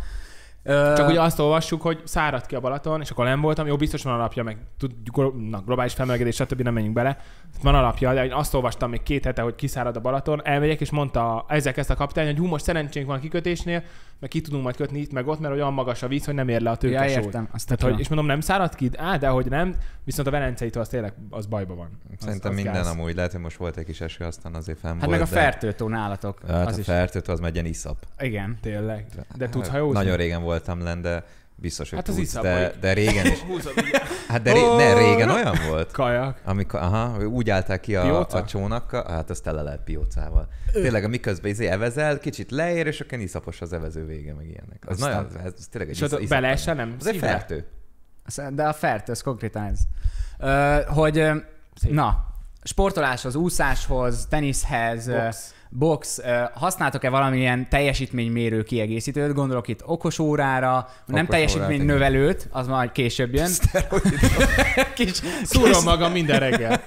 B: Ö,
C: Csak ugye azt olvassuk, hogy szárad ki a Balaton, és akkor nem voltam, jó, biztos van alapja, meg tud, glo- na, globális felmelegedés, stb. nem menjünk bele. Van alapja, de én azt olvastam még két hete, hogy kiszárad a Balaton, elmegyek, és mondta ezzel ezt a kapitány, hogy hú, most szerencsénk van a kikötésnél, meg ki tudunk majd kötni itt, meg ott, mert olyan magas a víz, hogy nem ér le a
B: ja,
C: tőkesor.
B: értem. Azt
C: Tehát, hogy, és mondom, nem szárad ki? Á, de hogy nem, viszont a Velencei-tó az tényleg, az bajban van. Az-
A: Szerintem
C: az
A: minden
C: gáz.
A: amúgy. Lehet, hogy most volt egy kis eső, aztán azért fenn
B: hát
A: volt.
B: meg a
A: de-
B: fertőtó nálatok.
A: Hát
B: az
A: a
B: is.
A: fertőtő az megyen iszap.
B: Igen.
C: Tényleg. De tudsz
A: Hát,
C: hajózni?
A: Nagyon régen voltam lenn, de biztos, hogy
C: Hát az
A: tudsz,
C: iszap,
A: de,
C: hogy-
A: de régen is.
C: Húzod,
A: Hát de ré, ne,
C: Ó,
A: régen
C: na.
A: olyan volt.
C: Kajak.
A: Amikor, aha, úgy állták ki a,
C: Pióca?
A: a csónakkal, hát az tele lehet piócával. Tényleg, miközben izé evezel, kicsit leér, és akkor iszapos az evező vége, meg ilyenek. Az
B: Aztán-
A: nagyon, ez, ez tényleg egy
C: És ott beleesse, nem?
A: Az egy
C: Szívvel?
A: fertő.
B: Azt- De a fertő, az konkrétan ez. Ö, hogy, ö,
C: Szép.
B: na, sportoláshoz, úszáshoz, teniszhez, ö,
C: Box.
B: box, ö, használtok-e valamilyen teljesítménymérő kiegészítőt? Gondolok itt okosórára, nem
A: Okosórát,
B: teljesítménynövelőt, az majd később jön. Kis,
C: Szúrom magam minden reggel.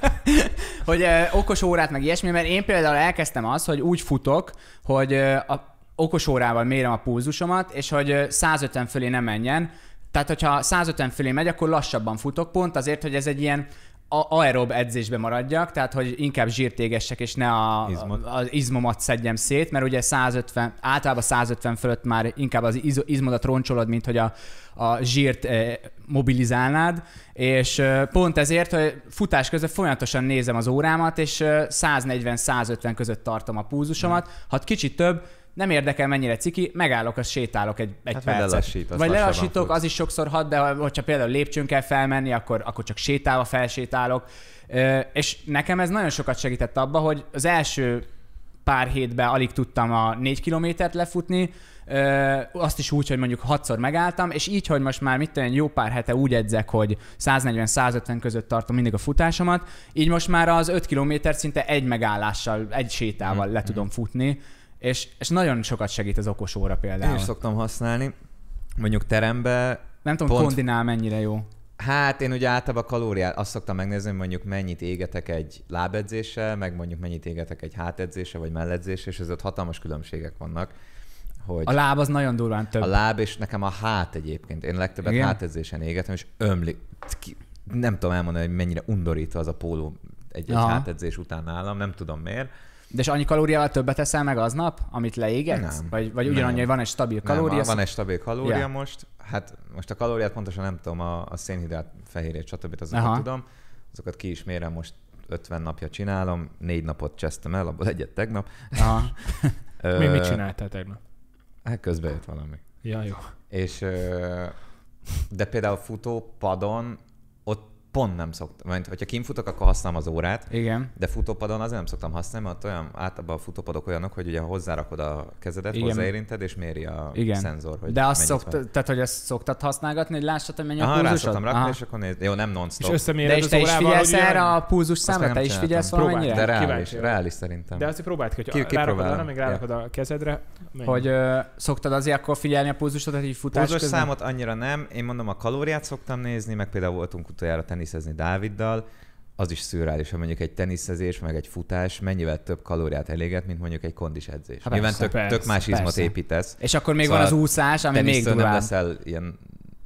B: hogy ö, okos órát, meg ilyesmi, mert én például elkezdtem az, hogy úgy futok, hogy ö, a okos órával mérem a pulzusomat, és hogy ö, 150 fölé nem menjen. Tehát, hogyha 150 fölé megy, akkor lassabban futok, pont azért, hogy ez egy ilyen a- aerob edzésbe maradjak, tehát hogy inkább zsírt égessek, és ne a,
A: Izmot.
B: a- az izmomat szedjem szét, mert ugye 150, általában 150 fölött már inkább az iz, izmodat roncsolod, mint hogy a, a zsírt eh, mobilizálnád, és eh, pont ezért, hogy futás közben folyamatosan nézem az órámat, és eh, 140-150 között tartom a pulzusomat, ha kicsit több, nem érdekel mennyire ciki, megállok, az sétálok egy, egy
A: Hát vagy
B: percet.
A: lelassítasz,
B: vagy
A: lassabban
B: lelassítok,
A: futsz.
B: az is sokszor hat, de ha- hogyha például lépcsőn kell felmenni, akkor, akkor csak sétálva felsétálok. Ö, És nekem ez nagyon sokat segített abba, hogy az első pár hétben alig tudtam a négy kilométert lefutni, ö, azt is úgy, hogy mondjuk hatszor megálltam, és így, hogy most már mit tudom, én, jó pár hete úgy edzek, hogy 140-150 között tartom mindig a futásomat, így most már az 5 kilométert szinte egy megállással, egy sétával le tudom futni, és, és nagyon sokat segít az okos óra
A: Én
B: például.
A: is szoktam használni. Mondjuk terembe
B: Nem tudom,
A: Pont-
B: kondinál mennyire jó.
A: Hát én ugye általában a kalóriát azt szoktam megnézni, hogy mondjuk mennyit égetek egy lábedzéssel, meg mondjuk mennyit égetek egy hátedzéssel, vagy melledzéssel, és ez ott hatalmas különbségek vannak. Hogy
B: A láb az nagyon durván több.
A: a láb és nekem a hát egyébként. Én legtöbbet
B: Igen?
A: Igen? hátedzésen égetem, és ömli. ki- Nem tudom elmondani, hogy mennyire undorító az a póló egy, egy
B: Aha.
A: hátedzés után nálam, nem tudom miért.
B: De és annyi kalóriával többet eszel meg aznap, amit leégetsz?
A: Nem.
B: Vagy, vagy
A: Nem.
B: ugyanannyi, hogy van egy stabil kalória?
A: nem, van egy stabil kalória
B: Ja.
A: yeah. most. Hát most a kalóriát pontosan nem tudom, a, a szénhidrát, fehérjét, stb.
B: Aha.
A: azokat tudom. Azokat ki is mérem, most 50 napja csinálom, négy napot csesztem el, abból egyet tegnap.
B: Aha.
A: Ö,
C: Mi mit csináltál tegnap?
A: Hát közbe jött valami.
C: Ja, jó.
A: És, ö, de például futópadon ott pont nem szoktam, mert hogyha kinfutok, akkor használom az órát,
B: Igen.
A: de futópadon azért nem szoktam használni, mert ott olyan, általában a futópadok olyanok, hogy ugye hozzárakod a kezedet,
B: Igen.
A: Igen. hozzáérinted, és méri a
B: Igen.
A: szenzor, hogy
B: De azt
A: mennyit van.
B: szokt, tehát, hogy ezt szoktad használgatni, hogy lássad, hogy mennyi a
A: Aha, rá
B: pulzusod?
A: szoktam rakni, és akkor nézd. Jó, nem
C: És
A: non-stop.
B: De
C: összeméred
B: és
C: az
B: te is
C: órával,
B: figyelsz
C: hogy
B: erre
C: ugyan-
B: a pulzus
A: Azt még
B: számra?
A: nem
B: Te is figyelsz
A: csináltam.
B: valamennyire?
A: De reális,
C: Kíváncsi vagyok.
A: reális szerintem.
C: De azt próbált ki,
A: Ki-
C: hogy rárakod
A: kipróbálom.
C: arra, meg rárakod a kezedre. menj.
B: Hogy ö, szoktad azért akkor figyelni a pulzusodat, hogy futás
A: Púzos
B: közben?
A: számot annyira nem, én mondom a kalóriát szoktam nézni, meg például voltunk utoljára teniszezni Dáviddal, az is szürreális, hogy mondjuk egy teniszezés, meg egy futás mennyivel több kalóriát eléget, mint mondjuk egy kondis edzés.
B: Hát
A: Nyilván
B: persze,
A: tök,
C: persze,
A: tök más izmot
B: persze.
A: építesz.
B: És akkor még
A: Szóval
B: van az úszás, ami még
A: Tenisztől nem
B: durvább.
A: leszel ilyen,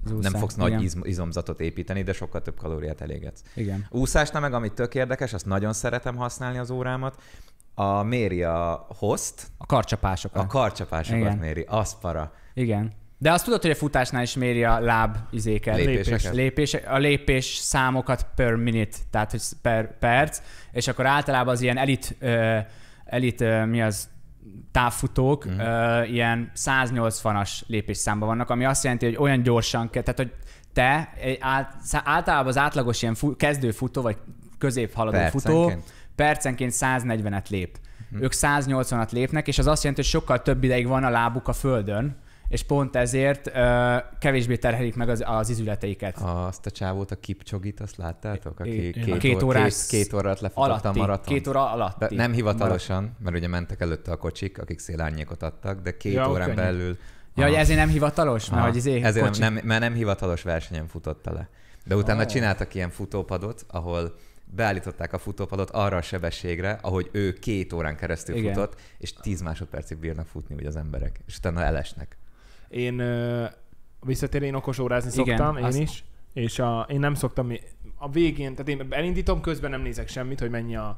B: Az
A: nem
B: úszás,
A: fogsz nagy
B: igen.
A: izm, izomzatot építeni, de sokkal több kalóriát elégetsz.
B: Igen.
A: Úszásnál meg, ami tök érdekes, azt nagyon szeretem használni az órámat, a méri a host,
B: A karcsapásokat.
A: a karcsapásokat
B: Ah. Igen.
A: méri, az para.
B: Igen. De azt tudod, hogy a futásnál is méri a láb izéket.
A: Lépéseket?
B: Lépés, a lépés számokat per minute, tehát hogy per perc, és akkor általában az ilyen elit, ö, elit ö, mi az, távfutók
A: Mhm.
B: mm. ö, ilyen 180-as lépésszámban vannak, ami azt jelenti, hogy olyan gyorsan kell, tehát hogy te egy át, szá- általában az átlagos ilyen fu, kezdőfutó, vagy középhaladó futó
A: Percenként?
B: percenként 140-et lép.
A: Mhm.
B: Hm. Ők 180-at lépnek, és az azt jelenti, hogy sokkal több ideig van a lábuk a földön, és pont ezért ö, kevésbé terhelik meg az, az izületeiket.
A: Azt a csávót, a kipcsogit, azt láttátok? Aki
B: Igen.
A: két,
B: A két
A: ó-
B: órás
A: két, két órát lefutotta a
B: Alatti,
A: maraton.
B: két óra
A: de
B: alatti.
A: nem hivatalosan, mert ugye mentek előtte a kocsik, akik szélárnyékot adtak, de két
C: Ja,
A: ja, órán
C: könnyű.
A: belül...
B: Ja, hogy
A: Aha.
B: ezért nem hivatalos? Mert
A: Aha.
B: hogy izé,
A: Ah. Ezért
B: kocsi-
A: nem, nem, mert nem hivatalos versenyen futotta le. De utána
B: Ó.
C: Ah.
A: oh. csináltak ilyen futópadot, ahol beállították a futópadot arra a sebességre, ahogy ő két órán keresztül
B: Igen.
A: Igen. futott, és tíz másodpercig bírnak futni ugye az emberek, és utána elesnek.
C: Én ö, visszatérni, én okos órázni
B: Igen,
C: szoktam, én
B: azt-
C: is. És a, én nem szoktam, a végén, tehát én elindítom, közben nem nézek semmit, hogy mennyi a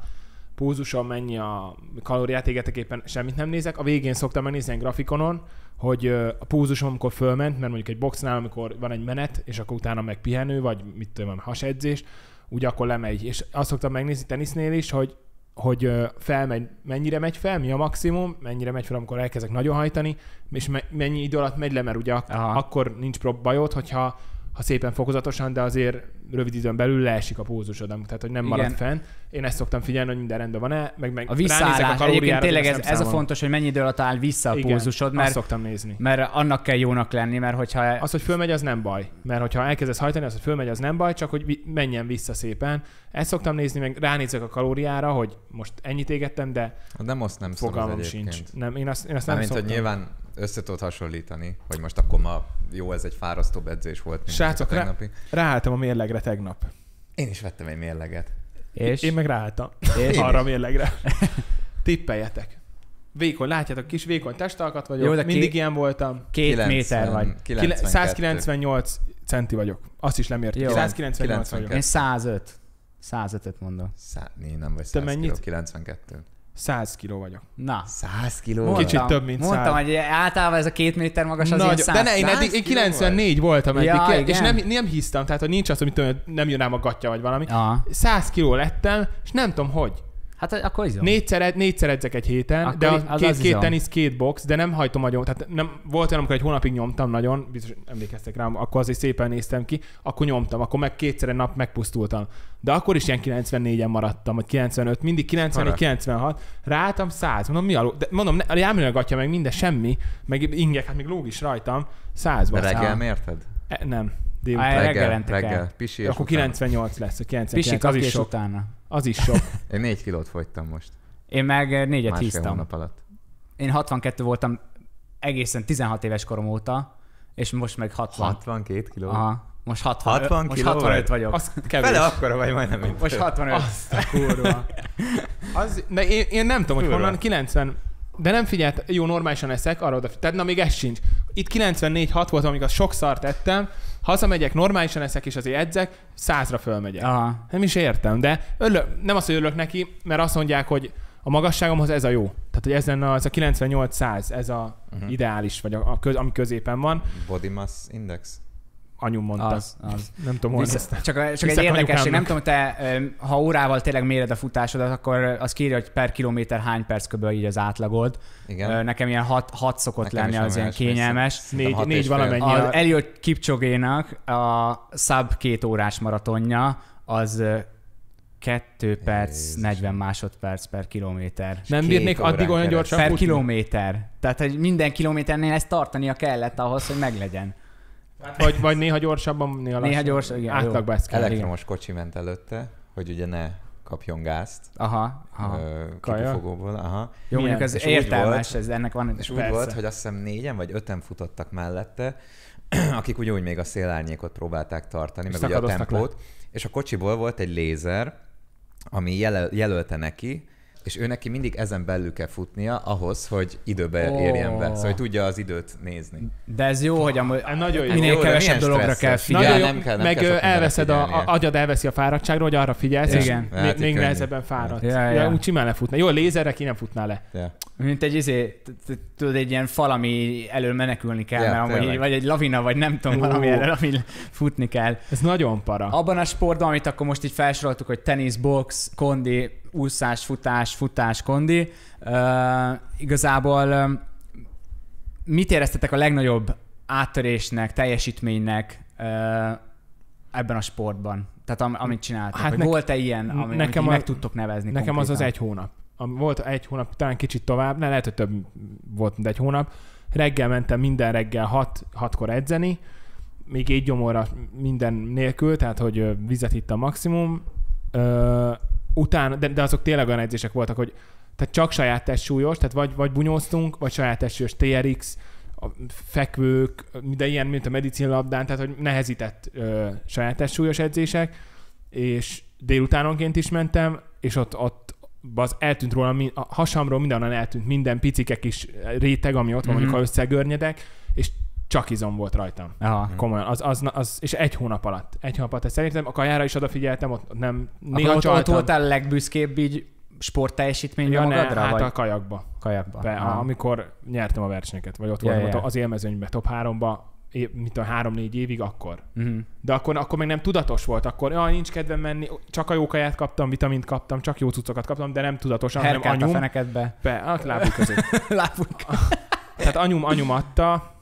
C: pulzusom, mennyi a kalóriát égetek, éppen semmit nem nézek. A végén szoktam megnézni egy grafikonon, hogy ö, a pulzusom, amikor fölment, mert mondjuk egy boxnál, amikor van egy menet, és akkor utána meg pihenő, vagy mit tudom, én, hasedzés, úgy akkor lemegy. És azt szoktam megnézni tenisznél is, hogy hogy ö, felmegy, mennyire megy fel, mi a maximum, mennyire megy fel, amikor elkezdek nagyon hajtani, és me- mennyi idő alatt megy le, mert ugye ak-
B: Aha.
C: akkor nincs prob- bajod, hogyha ha szépen fokozatosan, de azért rövid időn belül leesik a pózusod, am- tehát hogy nem marad
B: Igen.
C: fenn. Én ezt szoktam figyelni, hogy minden rendben van-e, meg, meg
B: A
C: ránézek
B: visszaállás, egyébként
C: kalóriára,
B: tényleg
C: de azt
B: ez,
C: nem
B: ez a
C: számolom.
B: fontos, hogy mennyi idő alatt áll vissza a
C: Igen,
B: pulzusod,
C: Azt
B: mert,
C: szoktam nézni.
B: mert annak kell jónak lenni, mert hogyha...
C: Az, hogy fölmegy, az nem baj. Mert hogyha elkezdesz hajtani, az, hogy fölmegy, az nem baj, csak hogy vi- menjen vissza szépen. Ezt szoktam nézni, meg ránézek a kalóriára, hogy most ennyit égettem, de
A: Nem azt nem szoros
C: fogalmam
A: egyébként.
C: sincs. Nem, én azt, én azt nem
A: Mármint, hogy
C: szoktam.
A: nyilván össze tudod hasonlítani, hogy most akkor ma jó, ez egy fárasztóbb edzés volt, mint
C: Srácok,
A: ez a
C: rá-
A: tegnapi.
C: Ráálltam a mérlegre tegnap.
A: Én is vettem egy mérleget.
B: és,
C: Én meg ráálltam.
B: és,
C: Arra a mérlegre. Tippeljetek. Vékony, látjátok, kis vékony testalkat vagyok.
B: Jó,
C: Jó,
B: de
C: de
B: ki-
C: Mindig ilyen voltam.
B: két méter vagy.
A: 92.
C: 198 centi vagyok. Azt is lemértem.
B: Jó.
C: 198 vagyok.
B: Én 105. 105-öt mondom.
A: Szá... Én nem vagy
C: Te
A: 100 kiló,
C: mennyit?
A: 92.
C: 100 kiló vagyok.
B: Na.
A: 100 kiló?
B: Mondtam,
C: Kicsit több, mint
B: Mondtam,
C: száz.
B: hogy általában ez a két méter magas az ilyen
C: Nagy,
B: száz.
C: de ne, én,
A: 100
C: eddig, én
A: kiló
C: 94 voltam eddig,
B: Ja,
C: ja, és
B: igen.
C: nem, nem hisztem, tehát hogy nincs az, hogy mit tudom, nem jön rám a gatya vagy valami.
B: Aha.
C: 100 kiló lettem, és nem tudom hogy.
B: Hát akkor izom.
C: Négyszer, ed- négyszer edzek egy héten,
B: Akkor
C: de
B: i-
C: a
B: az
C: két,
B: az
C: két
B: izom.
C: tenisz, két box, de nem hajtom nagyon. Tehát nem, volt olyan, amikor egy hónapig nyomtam nagyon, biztos emlékeztek rám, akkor azért szépen néztem ki, akkor nyomtam, akkor meg kétszer egy nap megpusztultam. De akkor is ilyen 94-en maradtam, vagy 95, mindig 94,
A: Harap.
C: 96, ráálltam 100, mondom, mi alul, de mondom, ne, elmegy a gatya, meg minden, semmi, meg ingek, hát még lóg is rajtam, 100
A: De reggel mérted?
C: e, Nem,
B: Á,
C: délután.
B: reggel
A: Reggel,
B: mentek el.
A: reggel. Pisi és
C: Akkor
A: utána.
C: 98 lesz, a 99,
B: Pisik
C: az
B: az
C: is
B: és
C: sok,
B: utána.
C: az is sok,
A: Én 4 kilót fogytam most.
B: Én meg eh, négyet
A: Másfél
B: híztam.
A: hónap alatt.
B: Én 62 voltam egészen 16 éves korom óta, és most meg 60.
A: 62 kiló?
B: Aha. Most 60,
A: 60
B: most
A: kiló vagy?
B: 65 vagyok.
C: az kevés.
A: Fele akkora vagy majdnem, mint
B: Most
A: te.
B: 65.
C: Azt a kurva. Az, de én, én nem tudom, hogy
A: Kurva.
C: honnan 90, de nem figyelt, jó, normálisan eszek, arra oda, tehát na még ez sincs. Itt 94-6 volt, amíg az sok szart ettem, hazamegyek, normálisan eszek, és azért edzek, százra fölmegyek.
B: Aha.
C: Nem is értem, de örülök, nem azt, hogy örülök neki, mert azt mondják, hogy a magasságomhoz ez a jó. Tehát, hogy ez lenne az a 98-100, ez a
A: Mhm.
C: uh-huh. ideális, vagy a, a köz, ami középen van.
A: Body mass index?
C: Anyum mondta. Az.
B: Az, az.
C: Nem tudom, hol
B: Vissza, csak csak egy
C: Viszek
B: érdekesség, nem
C: anyukámnak.
B: tudom, te öm, ha órával tényleg méred a futásodat, akkor az kírja, hogy per kilométer hány perc köböl így az átlagod.
A: Igen.
B: Igen. Nekem ilyen hat, hat szokott
A: Nekem is
B: lenni, az
A: olyan
B: ilyen
A: ilyesmi,
B: kényelmes.
A: szerintem
C: Négy-
A: hat
C: négy
A: és fél.
C: valamennyi.
B: Az
C: Ennyi a-
B: Eliott Kipcsogénak a sub két órás maratonja az ö, 2 perc
A: Jézus.
B: 40 másodperc per kilométer.
C: Nem
A: Két
C: bírnék
A: órán
C: addig olyan
A: keresztül.
C: gyorsan
B: per
C: futni.
B: kilométer. Tehát, hogy minden kilométernél ezt tartania kellett ahhoz, hogy meglegyen.
C: Vagy, vagy néha gyorsabban, néha lassabban.
B: Néha gyors, igen,
C: Átlagban ez kell.
A: Elektromos kocsi ment előtte, hogy ugye ne kapjon gázt
B: Aha, aha.
A: ö,
C: Kaja.
A: kipufogóból. Aha.
B: Jó,
C: milyen?
B: mondjuk ez
A: És úgy
B: értelmes,
A: volt-
B: ez ennek van.
A: És úgy volt, hogy azt hiszem négyen vagy öten futottak mellette, akik úgy, úgy még a szélárnyékot próbálták tartani,
C: És
A: meg ugye a
C: szakadoztak
A: tempót. És a kocsiból volt egy lézer, ami jelöl, jelölte neki, és ő neki mindig ezen belül kell futnia ahhoz, hogy időbe
B: Ó.
A: érjen be. Szóval, hogy tudja az időt nézni.
B: De ez jó, hogy amúgy
C: Ez nagyon Hát jó.
B: minél
A: Jó, de
B: kevesebb
A: milyen
B: dologra kell
A: stresszes.
B: figyelni.
A: Nagyon
C: jó,
A: nem kell- nem
C: meg
A: kell sok
C: ö,
A: mindenre
C: elveszed, a, a,
A: figyelnie.
C: agyad elveszi a fáradtságról, hogy arra figyelsz, és
B: Igen.
A: Lehet,
C: még,
A: hogy
C: még
A: könnyű.
C: nehezebben fáradt.
B: Ja,
C: Ja,
B: ja.
C: ja. Úgy simán lefutna. Jó, a lézerre ki nem futná le.
A: Ja.
B: Mint egy izé, t- t- tudod, egy ilyen fal, ami elől menekülni kell,
A: Ja,
B: mert amúgy,
A: tényleg.
B: így- vagy egy lavina, vagy nem tudom, valami
C: Ó.
B: elől, amin futni kell.
C: Ez nagyon para.
B: Abban a sportban, amit akkor most így felsoroltuk, hogy tenisz, box, kondi, úszás, futás, futás, kondi, uh, igazából uh, mit éreztetek a legnagyobb áttörésnek, teljesítménynek uh, ebben a sportban? Tehát am, amit csináltak.
C: Hát
B: Hát
C: nek-
B: volt-e ilyen, amit
C: nekem
B: nekem
C: a-
B: meg tudtok nevezni
C: Nekem az az
B: konkrétan?
C: egy hónap. Am- Volt egy hónap, talán kicsit tovább, ne, lehet, hogy több volt, mint egy hónap. Reggel mentem minden reggel hat, hatkor edzeni, még egy gyomorra minden nélkül, tehát hogy ö, vizet itt a maximum. Ö, utána, de, de azok tényleg olyan edzések voltak, hogy tehát csak saját testsúlyos, tehát vagy, vagy bunyóztunk, vagy saját testsúlyos TRX, a fekvők, de ilyen, mint a medicinlabdán, tehát hogy nehezített ö, saját testsúlyos edzések, és délutánonként is mentem, és ott, ott az eltűnt rólam, mi- a hasamról mindenhonnan eltűnt minden picike kis réteg, ami ott van,
B: Mhm.
C: mm-hmm. mondjuk ha összegörnyedek, és csak izom volt rajtam.
B: Aha.
C: Komolyan, az, az, az, és egy hónap alatt. Egy hónap alatt ezt szerintem, a kajára is odafigyeltem, ott nem, néha
B: Akkor ott, ott
C: csaltam.
B: voltál legbüszkébb így sportteljesítményben
C: ja, ne,
B: magadra,
C: hát
B: vagy
C: a kajakba.
B: kajakba?
C: Be,
B: Aha.
C: a, amikor nyertem a versenyeket, vagy ott
B: Ja,
C: ja, voltam
B: ja.
C: ja. az élmezőnyben, top 3-ba, é, mint a 3-4 évig akkor.
B: Mhm.
C: De akkor, akkor még nem tudatos volt, akkor jaj, nincs kedvem menni, csak a jó kaját kaptam, vitamint kaptam, csak jó cuccokat kaptam, de nem tudatosan, hanem
B: Herkelt a
C: anyum,
B: fenekedbe.
C: be, a lábuk között.
B: Lábunk.
C: Tehát anyum, anyum adta,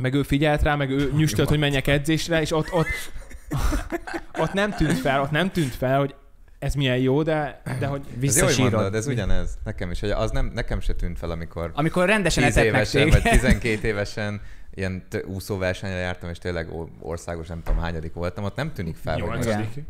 C: meg ő figyelt rá, meg ő nyüstölt, hogy menjek edzésre, és ott, ott, ott nem tűnt fel, ott nem tűnt fel, hogy ez milyen jó, de,
A: Ez
C: de hogy
A: jó, hogy mondod,
B: Visszasírod.
A: ez ugyanez. Nekem is, hogy az nem, nekem se tűnt fel, amikor
B: Amikor rendesen
A: 10
B: etett meg
A: évesen, vagy
B: téged.
A: 12 évesen ilyen t- úszóversenyre jártam, és tényleg ó- országos, nem tudom hányadik voltam, ott nem tűnik fel. hogy most-
C: nyolcadik.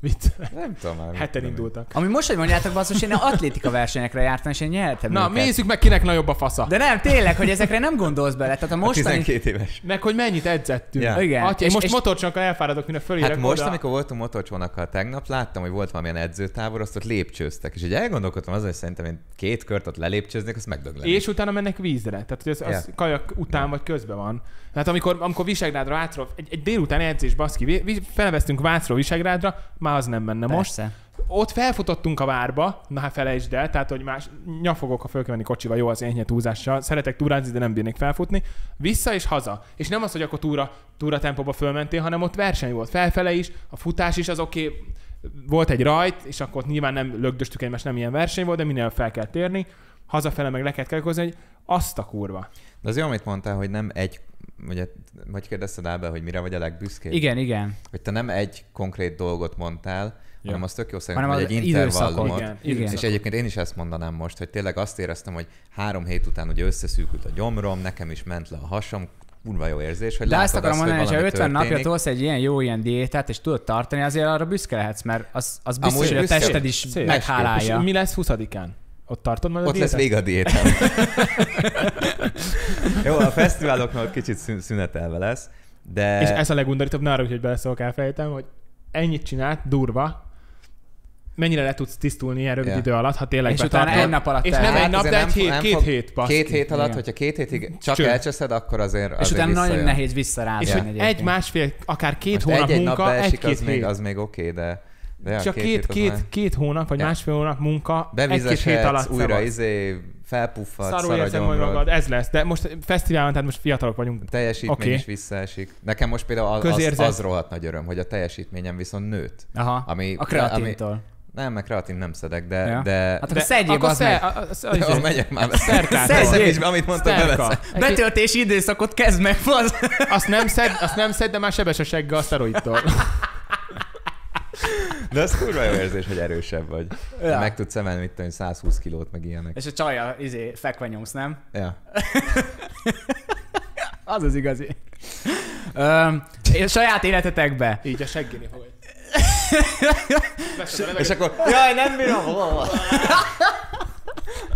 C: Vicc.
A: Nem tudom már. mit
C: Heten
A: tudom én.
C: indultak.
B: Ami most, hogy mondjátok, basszus, én atlétika versenyekre jártam, és én nyertem
C: Na,
B: őket.
C: nézzük meg, kinek nagyobb a fasza.
B: De nem, tényleg, hogy ezekre nem gondolsz bele. Tehát a
A: A
B: mostani...
A: 12 Hát éves.
C: Meg, hogy mennyit edzettünk.
A: Ja.
B: Igen.
C: Atya, és,
B: És-
C: most
B: és-
C: és... motorcsonkkal elfáradok, mire fölérek
A: Hát most,
C: oda.
A: amikor voltunk motorcsónakkal tegnap, láttam, hogy volt valamilyen edzőtábor, azt ott lépcsőztek, és így elgondolkodtam azon, hogy szerintem én két kört ott lelépcsőznék, azt megdöglenek.
C: És utána mennek vízre. Tehát, hogy az, az
A: Ja.
C: kajak után
A: Ja.
C: vagy közben van. Tehát amikor, amikor Visegrádra, Vácról, egy, egy délután edzés, baszki, vi- vi- felvesztünk Vácról Visegrádra, már az nem menne most.
B: Persze.
C: Ott felfutottunk a várba, na hát felejtsd el, tehát, hogy más nyafogok, ha föl kell menni kocsival, jó az enyhe túlzással, szeretek túrázni, de nem bírnék felfutni. Vissza és haza. És nem az, hogy akkor túra, túra tempóba fölmentél, hanem ott verseny volt felfele is, a futás is az oké, okay, volt egy rajt, és akkor ott nyilván nem lögdöstük egymást, nem ilyen verseny volt, de minél fel kell térni, hazafele meg le kell kelkozni, hogy azt a kurva.
A: De az jó, amit mondtál, hogy nem egy, ugye, hogy kérdezted Ábel, hogy mire vagy a legbüszkébb?
B: Igen, igen.
A: Hogy te nem egy konkrét dolgot mondtál,
C: Ja.
A: hanem az tök jó szerintem,
B: Hanem
A: hogy
B: az
A: egy
B: időszakot.
A: intervallumot.
C: Igen,
B: igen.
A: És egyébként én is ezt mondanám most, hogy tényleg azt éreztem, hogy három hét után ugye összeszűkült a gyomrom, nekem is ment le a hasam, kurva jó érzés, hogy
B: De
A: látod
B: azt akarom
A: hogy
B: mondani, hogy ha 50
A: valami
B: napja
A: történik.
B: tolsz egy ilyen jó ilyen diétát, és tudod tartani, azért arra büszke lehetsz, mert az, az biztos,
A: Amúgy
B: hogy a
A: büszke.
B: tested is
C: Szép. És
B: meghálálja.
C: mi lesz 20-án? Ott tartod majd a
A: Ott lesz
C: diétát?
A: vége a diétám. jó, a fesztiváloknak ott kicsit szün- szünetelve lesz, de...
C: És ez a legundorítóbb, ne arra, hogy beleszólok, elfelejtem, hogy ennyit csinált, durva, mennyire le tudsz tisztulni ilyen rövid
A: Ja.
C: idő alatt, ha tényleg
B: És utána
C: betartod.
B: egy nap alatt
C: És nem
B: elhát.
C: egy nap,
A: Hát azért
C: de
A: nem
C: egy
A: fog-
C: hét,
A: nem
C: két
A: fog-
C: hét, basszus.
A: Két hét alatt,
B: Igen.
A: hogyha két hétig csak
C: Cső.
A: elcseszed, akkor azért, azért
B: És utána nagyon
A: visszajön.
B: nehéz visszarázani.
C: És hogy
B: egyébként.
C: egy másfél, akár két
A: Most
C: hónap
A: egy-egy nap
C: munka,
A: beesik,
C: egy-két
A: az még,
C: hét.
A: az még oké, de... de ja,
C: Csak
A: hét
C: két,
A: az
C: két,
A: már-
C: két hónap, vagy
A: Ja.
C: másfél hónap munka, egy-két hét
A: Bevizesedsz,
C: alatt
A: újra
C: szabad.
A: izé, felpuffadsz,
C: Szarul
A: szar a
C: érzem majd
A: gyomrod.
C: magad, ez lesz. De most fesztiválon, tehát most fiatalok vagyunk.
A: teljesítmény
C: Oké.
A: okay. is visszaesik. Nekem most például az, az,
C: Közérzet.
A: az rohadt nagy öröm, hogy a teljesítményem viszont nőtt.
B: Aha.
A: Ami,
B: A kreatintól.
A: nem, meg kreatin nem szedek, de...
B: Ja.
A: Ja. de
B: Hát
C: De
B: akkor szedjél,
C: akkor
B: az
C: sze-
B: meg.
C: a- a- a-
A: de
C: izé,
A: ahhoz megyek már be.
C: Szerkát.
A: Szeszem
B: Szedjél.
A: is, amit mondtam,
C: Szerka.
A: beveszem.
C: Egy-
B: Betöltési időszakot kezd meg, fasz!
C: Azt nem szed, azt nem szed, de már sebes a segge a szteroidtól.
A: De ez kurva jó érzés, hogy erősebb vagy.
B: Ja.
A: Ja. Meg tudsz emelni, mit tudom, én, 120 kilót, meg ilyenek.
B: És a csaja, izé, fekve nyomsz, nem?
A: Ja.
B: Az az igazi. Öm, és saját életetekbe.
C: Így a seggéni fog.
A: És akkor...
B: Jaj, nem bírom!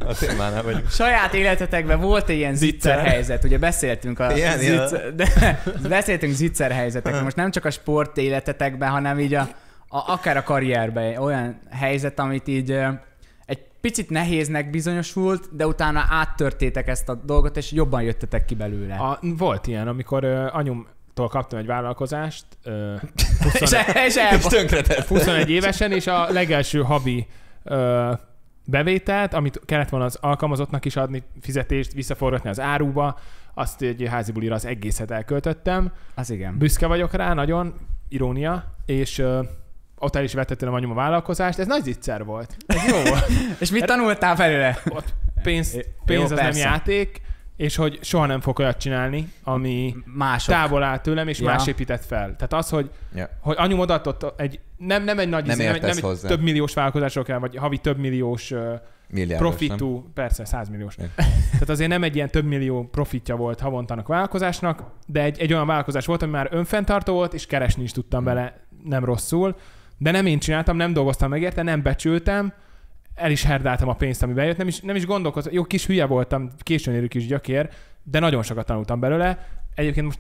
A: A témánál vagyunk.
B: Saját életetekben volt egy ilyen zicser helyzet, ugye beszéltünk a
A: Ilyen,
B: zicser, de, beszéltünk zicser helyzetekről, most nem csak a sport életetekben, hanem így a, a, akár a karrierben olyan helyzet, amit így ö, egy picit nehéznek bizonyosult, de utána áttörtétek ezt a dolgot, és jobban jöttetek ki belőle. A,
C: A, volt ilyen, amikor uh, anyumtól kaptam egy vállalkozást, uh,
B: és,
C: 21,
B: és
A: És
B: elba-
A: tönkretett.
C: 21 évesen, és a legelső havi uh, bevételt, amit kellett volna az alkalmazottnak is adni, fizetést, visszaforgatni az áruba, azt egy házi bulira az egészet elköltöttem.
B: Az igen.
C: Büszke vagyok rá, nagyon, irónia, és uh, ott el is vetettem anyum a vállalkozást. Ez nagy zicser volt. Ez jó volt.
B: És mit tanultál belőle?
C: Ott pénz,
B: Jó,
C: pénz az nem
B: persze.
C: játék, és hogy soha nem fog olyat csinálni, ami
B: Mások.
C: távol áll tőlem, és
B: Ja.
C: ja. más épített fel. Tehát az, hogy,
A: Ja.
C: hogy anyum odaadott egy, nem, nem egy nagy,
A: Nem
C: izé, nem, egy-
A: értesz
C: nem egy
A: hozzá.
C: több milliós vállalkozásról kell, vagy havi több milliós ö,
A: Milliárdos, nem?
C: profitú, persze, 100 milliós.
A: Igen.
C: Tehát azért nem egy ilyen több millió profitja volt havonta annak a vállalkozásnak, de egy, egy olyan vállalkozás volt, ami már önfenntartó volt, és keresni is
A: Mm.
C: tudtam vele nem rosszul. De nem én csináltam, nem dolgoztam meg érte, nem becsültem, el is herdáltam a pénzt, ami bejött, nem is, nem is gondolkoztam, jó, kis hülye voltam, későn érő kis gyakér, de nagyon sokat tanultam belőle. Egyébként most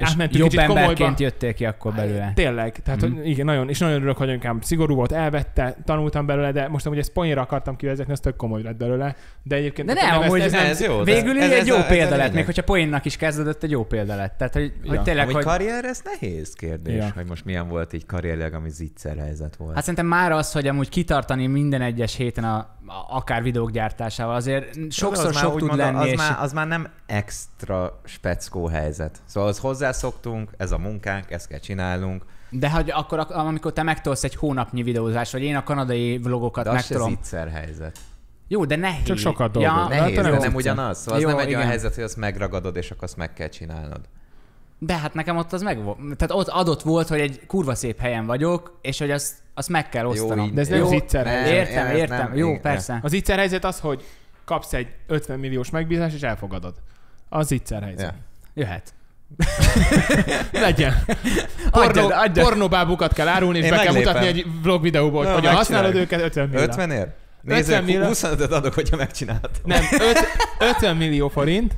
B: És
C: átmentünk
B: jobb
C: kicsit
B: emberként
C: komolyba.
B: jöttél ki akkor belőle.
C: Hát, Tényleg, tehát
B: Mhm.
C: mm. igen, nagyon, és nagyon örülök, hogy anyukám szigorú volt, elvette, tanultam belőle, de most amúgy ezt poénra akartam kivezetni, ez tök komoly lett belőle. De egyébként
B: De nem, amúgy
A: ez-
B: ez,
A: ez jó, de
B: végül
A: ez-
B: ez,
A: ez
B: egy jó
A: a- ez a
B: példa lett,
A: lényeg.
B: még hogyha poénnak is kezdődött, egy jó példa lett. Tehát, hogy,
C: Ja.
B: hogy tényleg,
A: Amúgy
B: hogy...
A: karrier, ez nehéz kérdés,
C: Ja.
A: ja. hogy most milyen volt így karrierleg, ami zicser helyzet volt.
B: Hát szerintem már az, hogy amúgy kitartani minden egyes héten a, a, akár videók gyártásával, azért sokszor
A: az már
B: sok
A: úgy
B: tud
A: mondom,
B: lenni,
A: Az,
B: és
A: már, az már nem extra speckó helyzet. Szóval az hozzászoktunk, ez a munkánk, ezt kell csinálnunk.
B: De hogy akkor, ak- amikor te megtolsz egy hónapnyi videózás, vagy én a kanadai vlogokat
A: De az se
B: megtolom.
A: zicser helyzet.
B: Jó, de nehéz.
C: Csak sokat
B: ja,
C: dolgozol.
A: Nehéz,
C: hát
A: de
C: nem
A: nem,
C: vicces.
A: ugyanaz. Szóval az
B: Jó,
A: nem egy olyan
B: igen.
A: helyzet, hogy azt megragadod, és akkor azt meg kell csinálnod.
B: De hát nekem ott az meg volt. Tehát ott adott volt, hogy egy kurva szép helyen vagyok, és hogy azt, azt meg kell osztanom.
A: így-
C: De ez nem
B: jó,
C: zicser helyzet.
B: Értem,
A: Nem,
B: értem.
A: nem,
B: jó,
A: igen.
B: persze.
C: Az ígyszer helyzet az, hogy kapsz egy 50 milliós megbízást, és elfogadod. Az ígyszer helyzet.
A: Ja.
C: Yeah.
B: Jöhet.
C: Legyen.
B: Adjad,
C: Pornó,
B: adjad.
C: pornobábukat kell árulni, és
A: Én
C: Én be kell
A: meglépem.
C: mutatni egy vlog videóból,
A: Na,
C: hogy ha használod
A: megcsináljuk.
C: őket 50 millió.
A: 50 ér?
C: 50
A: Nézzük,
C: millió.
A: 25-öt adok, hogyha megcsináltam.
C: Nem, öt, 50 millió forint.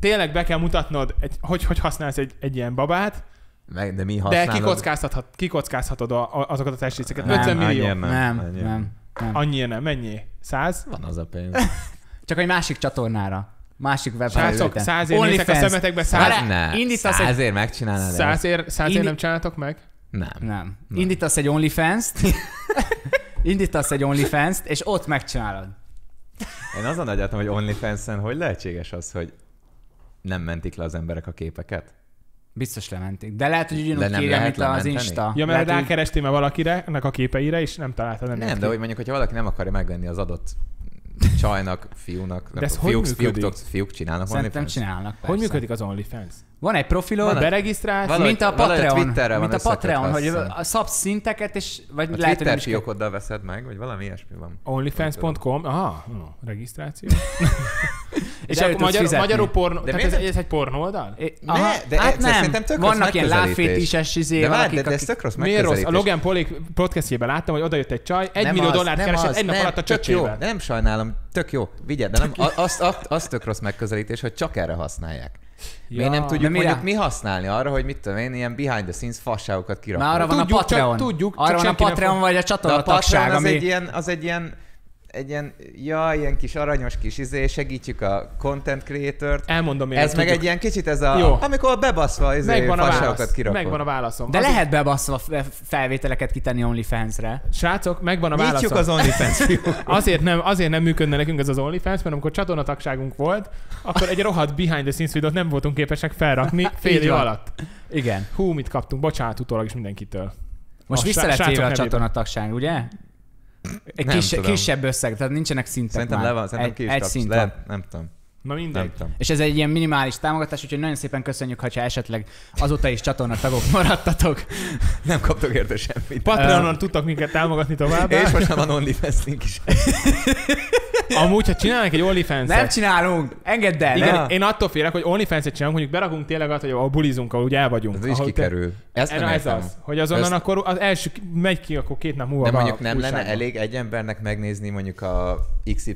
C: Tényleg be kell mutatnod, egy, hogy, hogy használsz egy, egy ilyen babát,
A: Meg, de mi
C: de
A: használod?
C: kikockáztathat, kikockázhatod a, a, azokat a testrészeket.
B: Nem,
C: 50 millió.
A: annyira
C: Annyiért
A: Nem,
B: Nem, nem,
A: annyira.
B: nem, nem.
C: Annyi nem, mennyi? 100?
A: Van az a pénz.
B: Csak egy másik csatornára. Másik
C: Srácok,
B: webhelyzeten.
C: 100 ér nézek a
B: OnlyFans.
C: szemetekbe,
B: Várj,
C: 100,
B: Várjál,
A: Hát ne.
B: indítasz egy-
A: Százért megcsinálnád?
C: 100 ér, 100 ér
B: Indi-
C: nem csináltok meg?
A: Nem.
B: Nem. Indítasz egy OnlyFans-t, indítasz egy OnlyFans-t, és ott megcsinálod.
A: Én azon agyaltam, hogy OnlyFans-en hogy lehetséges az, hogy nem mentik le az emberek a képeket?
B: Biztos lementik. De lehet, hogy ugyanúgy
A: De nem
B: kérje,
A: lehet
B: mint az
A: lementeni?
B: Insta.
C: Ja, mert
B: lehet, hogy-
C: rákerestél már valakire, ennek a képeire, és nem találtad ennek
A: Nem, de hogy mondjuk, hogyha valaki nem akarja megvenni az adott csajnak, fiúnak, nem
C: ez
A: tudom,
C: hogy
A: fiúk,
C: működik?
A: fiúk, fiúk csinálnak
B: Szerintem
A: OnlyFans-t?
B: csinálnak.
C: Hogy
B: persze.
C: működik az OnlyFans?
B: Van egy profilod,
A: Van egy-
C: Beregisztrálsz,
A: Valahogy-
B: mint a
A: valahogy
B: Patreon.
A: Twitterrel
B: mint
A: van
B: a Patreon, hogy
A: összekötve, azt
B: a szabsz szinteket, és vagy
A: A
B: lehet, hogy nem
A: Twitter
B: is kell.
A: fiókoddal veszed meg, vagy valami ilyesmi van.
C: onlyfans.com, aha, no, regisztráció.
B: És
C: és
B: el
C: akkor
B: tudsz
C: magyar,
B: fizetni.
C: magyarul pornó, de tehát
A: miért
C: ez,
A: nem-
C: ez, egy pornó oldal?
B: É,
A: Ne,
B: Aha,
A: de
B: hát
A: ez
B: nem.
A: szerintem tök rossz
B: Vannak ilyen
A: megközelítés.
B: lábfétises izé,
A: De várj,
B: valakik,
A: de, de ez
B: akik...
A: tök rossz
C: Miért rossz? A
A: megközelítés.
C: Logan Paulik podcastjében láttam, hogy odajött egy csaj, egy
A: Nem
C: millió
A: az,
C: dollárt
A: nem
C: keresett
A: az,
C: egy nap
A: nem,
C: alatt a
A: tök jó,
C: csöcsével.
A: Nem sajnálom, tök jó. Vigye, de nem, a- az, az, az tök rossz megközelítés, hogy csak erre használják. Ja. Miért nem
C: Ja.
A: tudjuk
B: De mire?
A: mondjuk mi használni arra, hogy mit tudom én, ilyen behind the scenes fasságokat kirakni.
B: Már arra van a
C: Tudjuk, csak-
B: Patreon.
C: tudjuk, csak
B: arra van a
C: senki nem
B: Patreon,
C: fog-
B: vagy a
A: De a
B: csatorna
A: Patreon
B: tagság,
A: az, egy
B: ami...
A: ilyen, az egy ilyen, egy ilyen, ja, ilyen kis aranyos kis izé, segítjük a content creator-t.
C: Elmondom, miért
A: Ez
C: nem
A: meg
C: tudjuk.
A: egy ilyen kicsit ez a,
C: Jó.
A: amikor bebaszva izé,
C: Megvan a
A: fasságokat
C: válasz.
A: kirakod.
C: Megvan a válaszom.
B: De
C: Az-
B: lehet bebaszva f- felvételeket kitenni OnlyFans-re.
C: Srácok, megvan a
A: Nyitjuk
C: válaszom.
A: az OnlyFans fiúkat.
C: Azért nem, azért nem működne nekünk ez az OnlyFans, mert amikor csatornatagságunk volt, akkor egy rohadt behind the scenes videót nem voltunk képesek felrakni fél
B: Így
C: év
B: van.
C: alatt.
B: Igen.
C: Hú, mit kaptunk, bocsánat utólag is mindenkitől.
B: Most
C: A
B: vissza
C: srá-
B: lett
C: srácok
B: téve a
C: nevében.
B: csatornatagság, ugye? Egy
A: Nem
B: kis,
A: tudom.
B: kisebb összeg, tehát nincsenek szintek
A: Szerintem
B: már.
A: le van, szerintem
B: egy,
A: ki is
B: egy
A: kapsz.
B: szint van.
A: Lehet, nem tudom,
C: Na mindegy.
A: nem tudom.
B: És ez egy ilyen minimális támogatás, úgyhogy nagyon szépen köszönjük, ha esetleg azóta is csatornatagok maradtatok.
A: Nem kaptok érte semmit.
C: Patreonon tudtak minket támogatni tovább.
A: És most már van OnlyFans link is.
C: Amúgy, ha csinálnak egy
B: Nem
C: OnlyFans-et,
B: csinálunk! Engedd el!
C: igen,
B: Nem.
A: Ja.
C: én attól félek, hogy OnlyFans-et csinálunk, mondjuk berakunk tényleg azt, hogy a bulizunk, ahol ugye el vagyunk.
A: Ez is
C: ahol te-
A: kikerül. Ezt nem
C: Erre ez
A: értem.
C: az, hogy azonnan
A: Ezt-
C: akkor az első ki- megy ki, akkor két nap múlva.
A: De
C: van a
A: mondjuk nem lenne
C: újságban.
A: elég egy embernek megnézni mondjuk a XY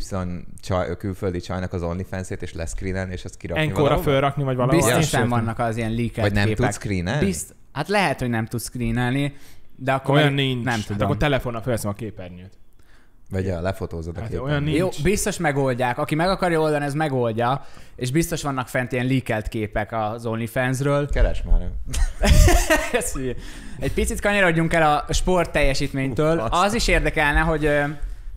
A: csaj, külföldi csajnak az onlyfans-ét, és leszkrínen, és ezt kirakni
C: Enkorra
A: valahova?
C: fölrakni, vagy valahol.
B: Biztosan
C: Sőt,
B: vannak az ilyen leaked
A: Vagy nem
B: képek.
A: tudsz screenelni?
B: Bizt... Hát lehet, hogy nem tudsz screenelni, de akkor
C: Olyan
B: meg-
C: nincs.
B: Nem
C: Hát
B: tudom.
C: akkor telefonnal felveszem a képernyőt.
A: Vagy a lefotózod a
C: Hát
A: képen.
C: olyan nincs.
B: Jó, biztos megoldják. Aki meg akarja oldani, ez megoldja. És biztos vannak fent ilyen leakelt képek az OnlyFansről.
A: Keres már.
B: Ez hülye. Egy picit kanyarodjunk el a sport teljesítménytől.
A: Ú,
B: Uh,
A: azt.
B: az is érdekelne, hogy ö,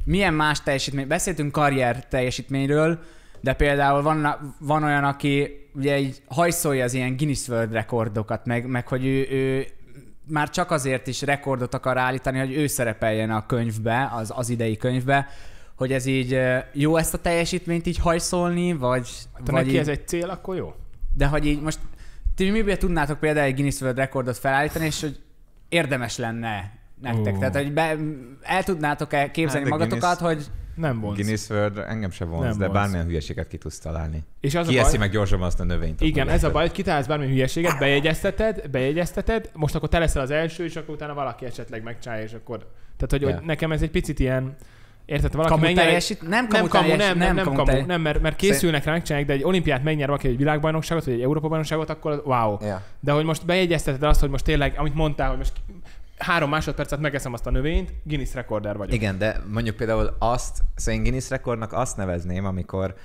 B: milyen más teljesítmény. Beszéltünk karrier teljesítményről, de például van, van olyan, aki ugye így hajszolja az ilyen Guinness World rekordokat, meg, meg hogy ő, ő már csak azért is rekordot akar állítani, hogy ő szerepeljen a könyvbe, az, az idei könyvbe, hogy ez így ö, jó ezt a teljesítményt így hajszolni, vagy...
C: Ha
B: vagy
C: neki
B: így...
C: ez egy cél, akkor jó.
B: De hogy így most, ti miből tudnátok például egy Guinness World Rekordot felállítani, és hogy érdemes lenne nektek?
C: Ó.
B: Tehát, hogy be, el tudnátok-e képzelni
A: Hát,
B: hát,
A: de
B: magatokat, hogy
C: Nem vonz.
A: Guinness World engem se vonz,
C: Nem
A: de
C: vonz.
A: bármilyen hülyeséget ki tudsz találni.
C: És az
A: Ki
C: a baj,
A: eszi meg gyorsabban azt a növényt?
C: Igen,
A: abból
C: ez a
A: lehet.
C: baj, hogy kitalálsz bármi hülyeséget, bejegyezteted, bejegyezteted, most akkor te leszel az első, és akkor utána valaki esetleg megcsáll, és akkor... Tehát, hogy,
A: Ja.
C: hogy nekem ez egy picit ilyen Érted? Valaki
B: Kamu
C: megnyer egy-
B: teljesít? Nem
C: nem
B: kamu
C: kamu,
B: teljesít,
C: nem, nem, nem kamu,
B: teljesít.
C: nem, mert, mert készülnek rá, megcsinálják, de egy olimpiát megnyer valaki egy világbajnokságot, vagy egy Európa-bajnokságot, akkor az wow.
D: Ja.
C: De hogy most bejegyezteted azt, hogy most tényleg, amit mondtál, hogy most három másodpercet megeszem azt a növényt, Guinness rekorder vagyok.
A: Igen, de mondjuk például azt, szóval én Guinness rekordnak azt nevezném, amikor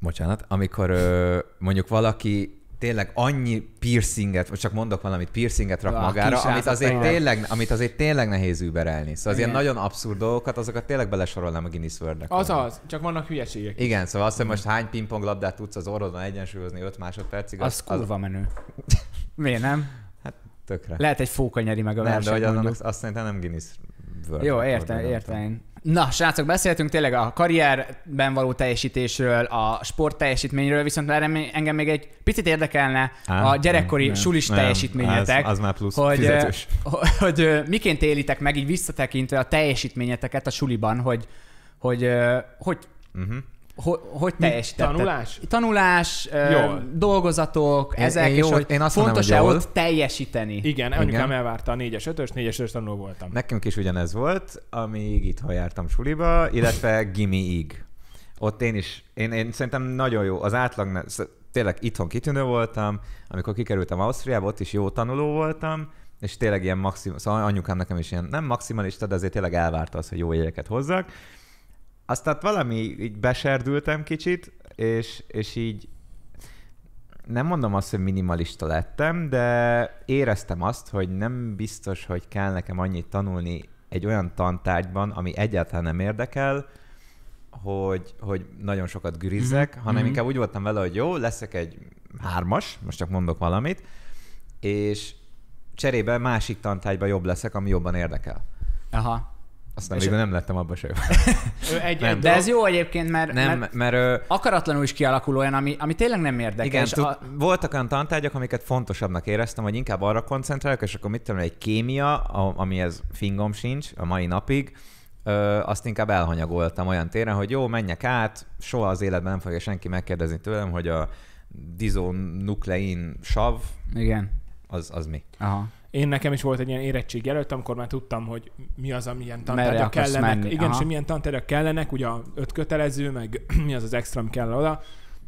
A: bocsánat, amikor ö, mondjuk valaki tényleg annyi piercinget, vagy csak mondok valamit, piercinget rak
B: Ah,
A: magára,
B: kis
A: amit azért,
B: állat,
A: tényleg, amit azért tényleg nehéz überelni. Szóval az ilyen
B: Igen.
A: nagyon abszurd dolgokat, azokat tényleg belesorolnám a Guinness World
C: Az
A: rekordba.
C: az, csak vannak hülyeségek.
A: Igen, szóval azt, hogy most hány pingpong labdát tudsz az orrodon egyensúlyozni 5 másodpercig,
B: Az kurva menő. Miért nem?
A: tökre.
B: Lehet egy fóka nyeri meg a
A: nem, de hogy
B: versenyt
A: azon,
B: mondjuk.
A: azt szerintem nem Guinness World
B: Jó,
A: Record,
B: értem,
A: nem tudom.
B: értem. Na, srácok, beszéltünk tényleg a karrierben való teljesítésről, a sport teljesítményről, viszont erre mi- engem még egy picit érdekelne
A: Á,
B: a gyerekkori
A: nem,
B: sulis
A: nem,
B: teljesítményetek.
A: Az, az már plusz
B: hogy,
A: fizetős.
B: hogy, hogy ö, miként élitek meg így visszatekintve a teljesítményeteket a suliban, hogy hogy, ö, hogy,
A: Uh-huh.
B: hogy, hogy teljesítettek.
C: Tanulás?
B: Tanulás, ö,
C: Jól.
B: dolgozatok,
A: Én-
B: ezek,
A: én
B: és
A: jó-
B: hogy
A: én azt mondom, hogy
B: fontos-e
A: jól.
B: ott teljesíteni?
C: Igen, anyukám
A: Igen.
C: elvárta a 4-es 5-ös, 4-es 5-ös tanuló voltam.
A: Nekünk is ugyanez volt, amíg itthon jártam suliba, illetve gimiig. Ott én is, én, én szerintem nagyon jó, az átlag, ne- sz- tényleg itthon kitűnő voltam, amikor kikerültem Ausztriába, ott is jó tanuló voltam, és tényleg ilyen maximum, szóval anyukám nekem is ilyen, nem maximalista, de azért tényleg elvárta az, hogy jó jegyeket hozzak. Aztán hát valami, így beserdültem kicsit, és, és így nem mondom azt, hogy minimalista lettem, de éreztem azt, hogy nem biztos, hogy kell nekem annyit tanulni egy olyan tantárgyban, ami egyáltalán nem érdekel, hogy, hogy nagyon sokat gürizzek, mm-hmm. hanem
B: Mhm.
A: inkább úgy voltam vele, hogy jó, leszek egy hármas, most csak mondok valamit, és cserébe másik tantárgyban jobb leszek, ami jobban érdekel.
B: Aha.
A: Aztán
B: És-
A: végül nem lettem abba se jó.
C: Ő egy,
A: Nem.
C: egy
B: De
C: dolog-
B: ez jó egyébként, mert,
A: Nem,
B: mert
A: mert, mert ö,
B: akaratlanul is kialakul olyan, ami, ami tényleg nem érdekel.
A: Igen,
B: és
A: tud,
B: a,
A: voltak olyan tantárgyak, amiket fontosabbnak éreztem, hogy inkább arra koncentrálok, és akkor mit tudom, egy kémia, a- amihez fingom sincs a mai napig, ö, azt inkább elhanyagoltam olyan téren, hogy jó, menjek át, soha az életben nem fogja senki megkérdezni tőlem, hogy a dizonuklein sav,
B: igen.
A: az, az mi?
B: Aha.
C: Én nekem is volt egy ilyen érettség előtt, amikor már tudtam, hogy mi az, amilyen
B: Merre
C: tantárgyak
B: akarsz
C: kellenek.
B: menni,
C: Igen,
B: aha.
C: és hogy milyen tantárgyak kellenek, ugye a öt kötelező, meg mi az az extra, ami kell oda.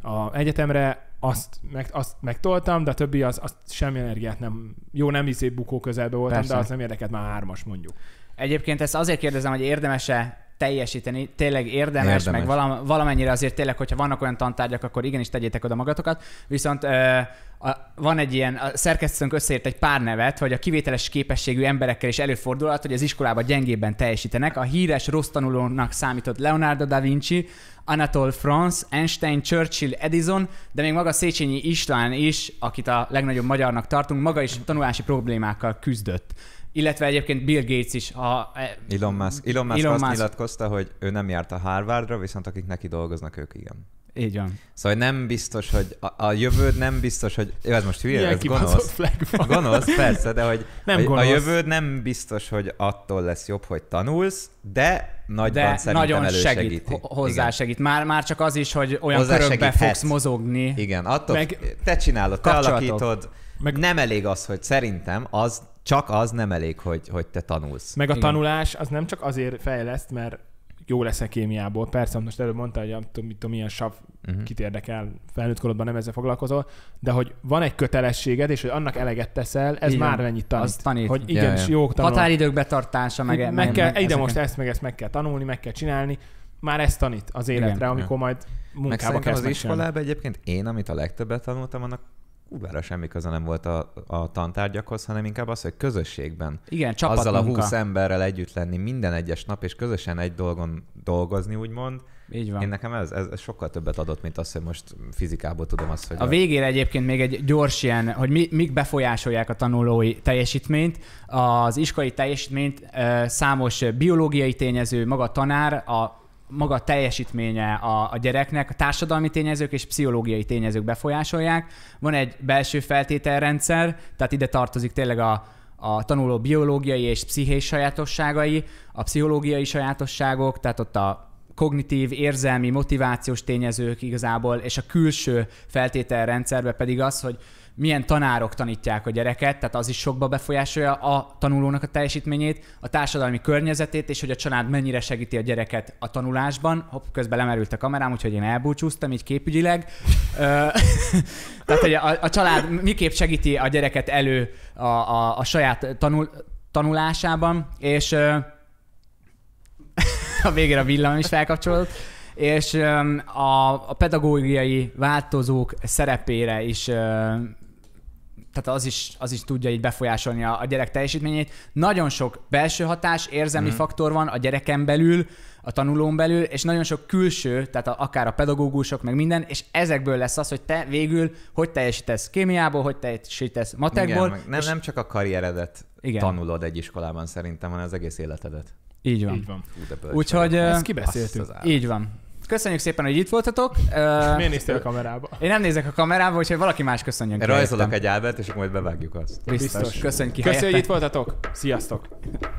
C: A egyetemre azt, meg, azt megtoltam, de a többi az, azt semmi energiát nem, jó nem izé bukó közelbe voltam,
B: Persze.
C: de az nem érdekelt már hármas mondjuk.
B: Egyébként ezt azért kérdezem, hogy érdemese teljesíteni, tényleg érdemes,
A: Érdemes.
B: érdemes. meg valam, valamennyire azért tényleg, hogyha vannak olyan tantárgyak, akkor igenis tegyétek oda magatokat, viszont ö, a, van egy ilyen, a szerkesztőnk összeért egy pár nevet, hogy a kivételes képességű emberekkel is előfordulhat, hogy az iskolában gyengébben teljesítenek. A híres rossz tanulónak számított Leonardo da Vinci, Anatole France, Einstein, Churchill, Edison, de még maga Széchenyi István is, akit a legnagyobb magyarnak tartunk, maga is tanulási problémákkal küzdött. Illetve egyébként Bill Gates is, ha e,
A: Elon Musk. Elon Musk Elon
B: Elon
A: azt
B: Musk.
A: Musk. nyilatkozta, hogy ő nem járt a Harvardra, viszont akik neki dolgoznak, ők igen.
B: Így van.
A: Szóval nem biztos, hogy a, a jövőd nem biztos, hogy... Jó, ez most hülye,
C: Milyen
A: ez
C: kibaszott
A: gonosz.
C: flag van.
A: Gonosz, persze, de hogy
C: Nem
A: a,
C: gonosz.
A: a jövőd nem biztos, hogy attól lesz jobb, hogy tanulsz, de nagyban
B: De
A: szerintem
B: nagyon
A: elősegíti.
B: segít, ho- hozzásegít. Már, már csak az is, hogy olyan
A: Hozzá
B: körökbe
A: segíthet.
B: fogsz mozogni.
A: Igen, igen attól
C: Meg-
A: te csinálod, te
B: Kapcsolatok.
A: alakítod. Meg...
C: Meg-
A: Nem elég az, hogy szerintem az, csak az nem elég, hogy, hogy te tanulsz.
C: Meg a
B: Igen.
C: Igen. tanulás az nem csak azért fejleszt, mert jó lesz a kémiából. Persze, most előbb mondta, hogy a, tudom, mit tudom, milyen sav
A: Mhm.
C: uh-huh. kit érdekel, felnőtt korodban nem ezzel foglalkozol, de hogy van egy kötelességed, és hogy annak eleget teszel, ez
B: Igen.
C: Igen. már mennyit tanít.
B: Az tanít.
C: Hogy
A: Ja,
C: igen,
A: ja.
C: ja, jó tanul.
B: Határidők betartása, meg,
C: meg,
B: meg,
C: kell,
B: meg
C: ide
B: ezeket.
C: most ezt, meg ezt meg kell tanulni, meg kell csinálni. Már ezt tanít az életre,
B: Igen.
C: Igen. amikor majd
A: Meg
C: munkába
A: szerintem
C: kezd
A: az iskolában egyébként én, amit a legtöbbet tanultam, annak kurvára semmi köze nem volt a, a tantárgyakhoz, hanem inkább az, hogy közösségben
B: Igen,
A: azzal a
B: csapatmunka.
A: 20 emberrel együtt lenni minden egyes nap, és közösen egy dolgon dolgozni, úgymond,
B: Így van.
A: Én nekem ez, ez, ez sokkal többet adott, mint az, hogy most fizikából tudom azt, hogy...
B: A végére egyébként még egy gyors ilyen, hogy mi, mik befolyásolják a tanulói teljesítményt. Az iskolai teljesítményt ö, számos biológiai tényező, maga a tanár, a maga a teljesítménye a, a gyereknek, a társadalmi tényezők és pszichológiai tényezők befolyásolják. Van egy belső feltételrendszer, tehát ide tartozik tényleg a, a tanuló biológiai és pszichés sajátosságai, a pszichológiai sajátosságok, tehát ott a kognitív, érzelmi, motivációs tényezők igazából, és a külső feltételrendszerbe pedig az, hogy milyen tanárok tanítják a gyereket, tehát az is sokba befolyásolja a tanulónak a teljesítményét, a társadalmi környezetét, és hogy a család mennyire segíti a gyereket a tanulásban. Hopp, közben lemerült a kamerám, úgyhogy én elbúcsúztam így képügyileg. Ö, tehát, hogy a, a család miképp segíti a gyereket elő a, a, a saját tanul, tanulásában, és ö, a végére a villam is felkapcsolódott, és öm, a, a pedagógiai változók szerepére is öm, tehát az is, az is tudja így befolyásolni a, a gyerek teljesítményét. Nagyon sok belső hatás,
A: Mhm.
B: érzelmi mm. faktor van a gyereken belül, a tanulón belül, és nagyon sok külső, tehát a, akár a pedagógusok, meg minden, és ezekből lesz az, hogy te végül hogy teljesítesz kémiából, hogy teljesítesz matekból.
A: Igen, meg nem,
B: és
A: nem csak a karrieredet
B: Igen.
A: Igen. tanulod egy iskolában szerintem, hanem az egész életedet.
B: Így van.
C: Így van.
A: Hú, de bölcs
B: Úgyhogy
A: vagyok.
B: ö,
C: Ezt kibeszéltük.
A: Azt az állat.
B: így van. Köszönjük szépen, hogy itt voltatok. Ö,
C: Miért néztél a kamerába?
B: Én nem nézek a kamerába, úgyhogy valaki más köszönjön. ki
A: Rajzolok
B: helyettem.
A: egy ábert, és akkor majd bevágjuk azt.
B: Biztos.
C: Biztos.
B: Köszönj ki
C: Köszönjük, hogy
B: helyettem.
C: itt voltatok. Sziasztok.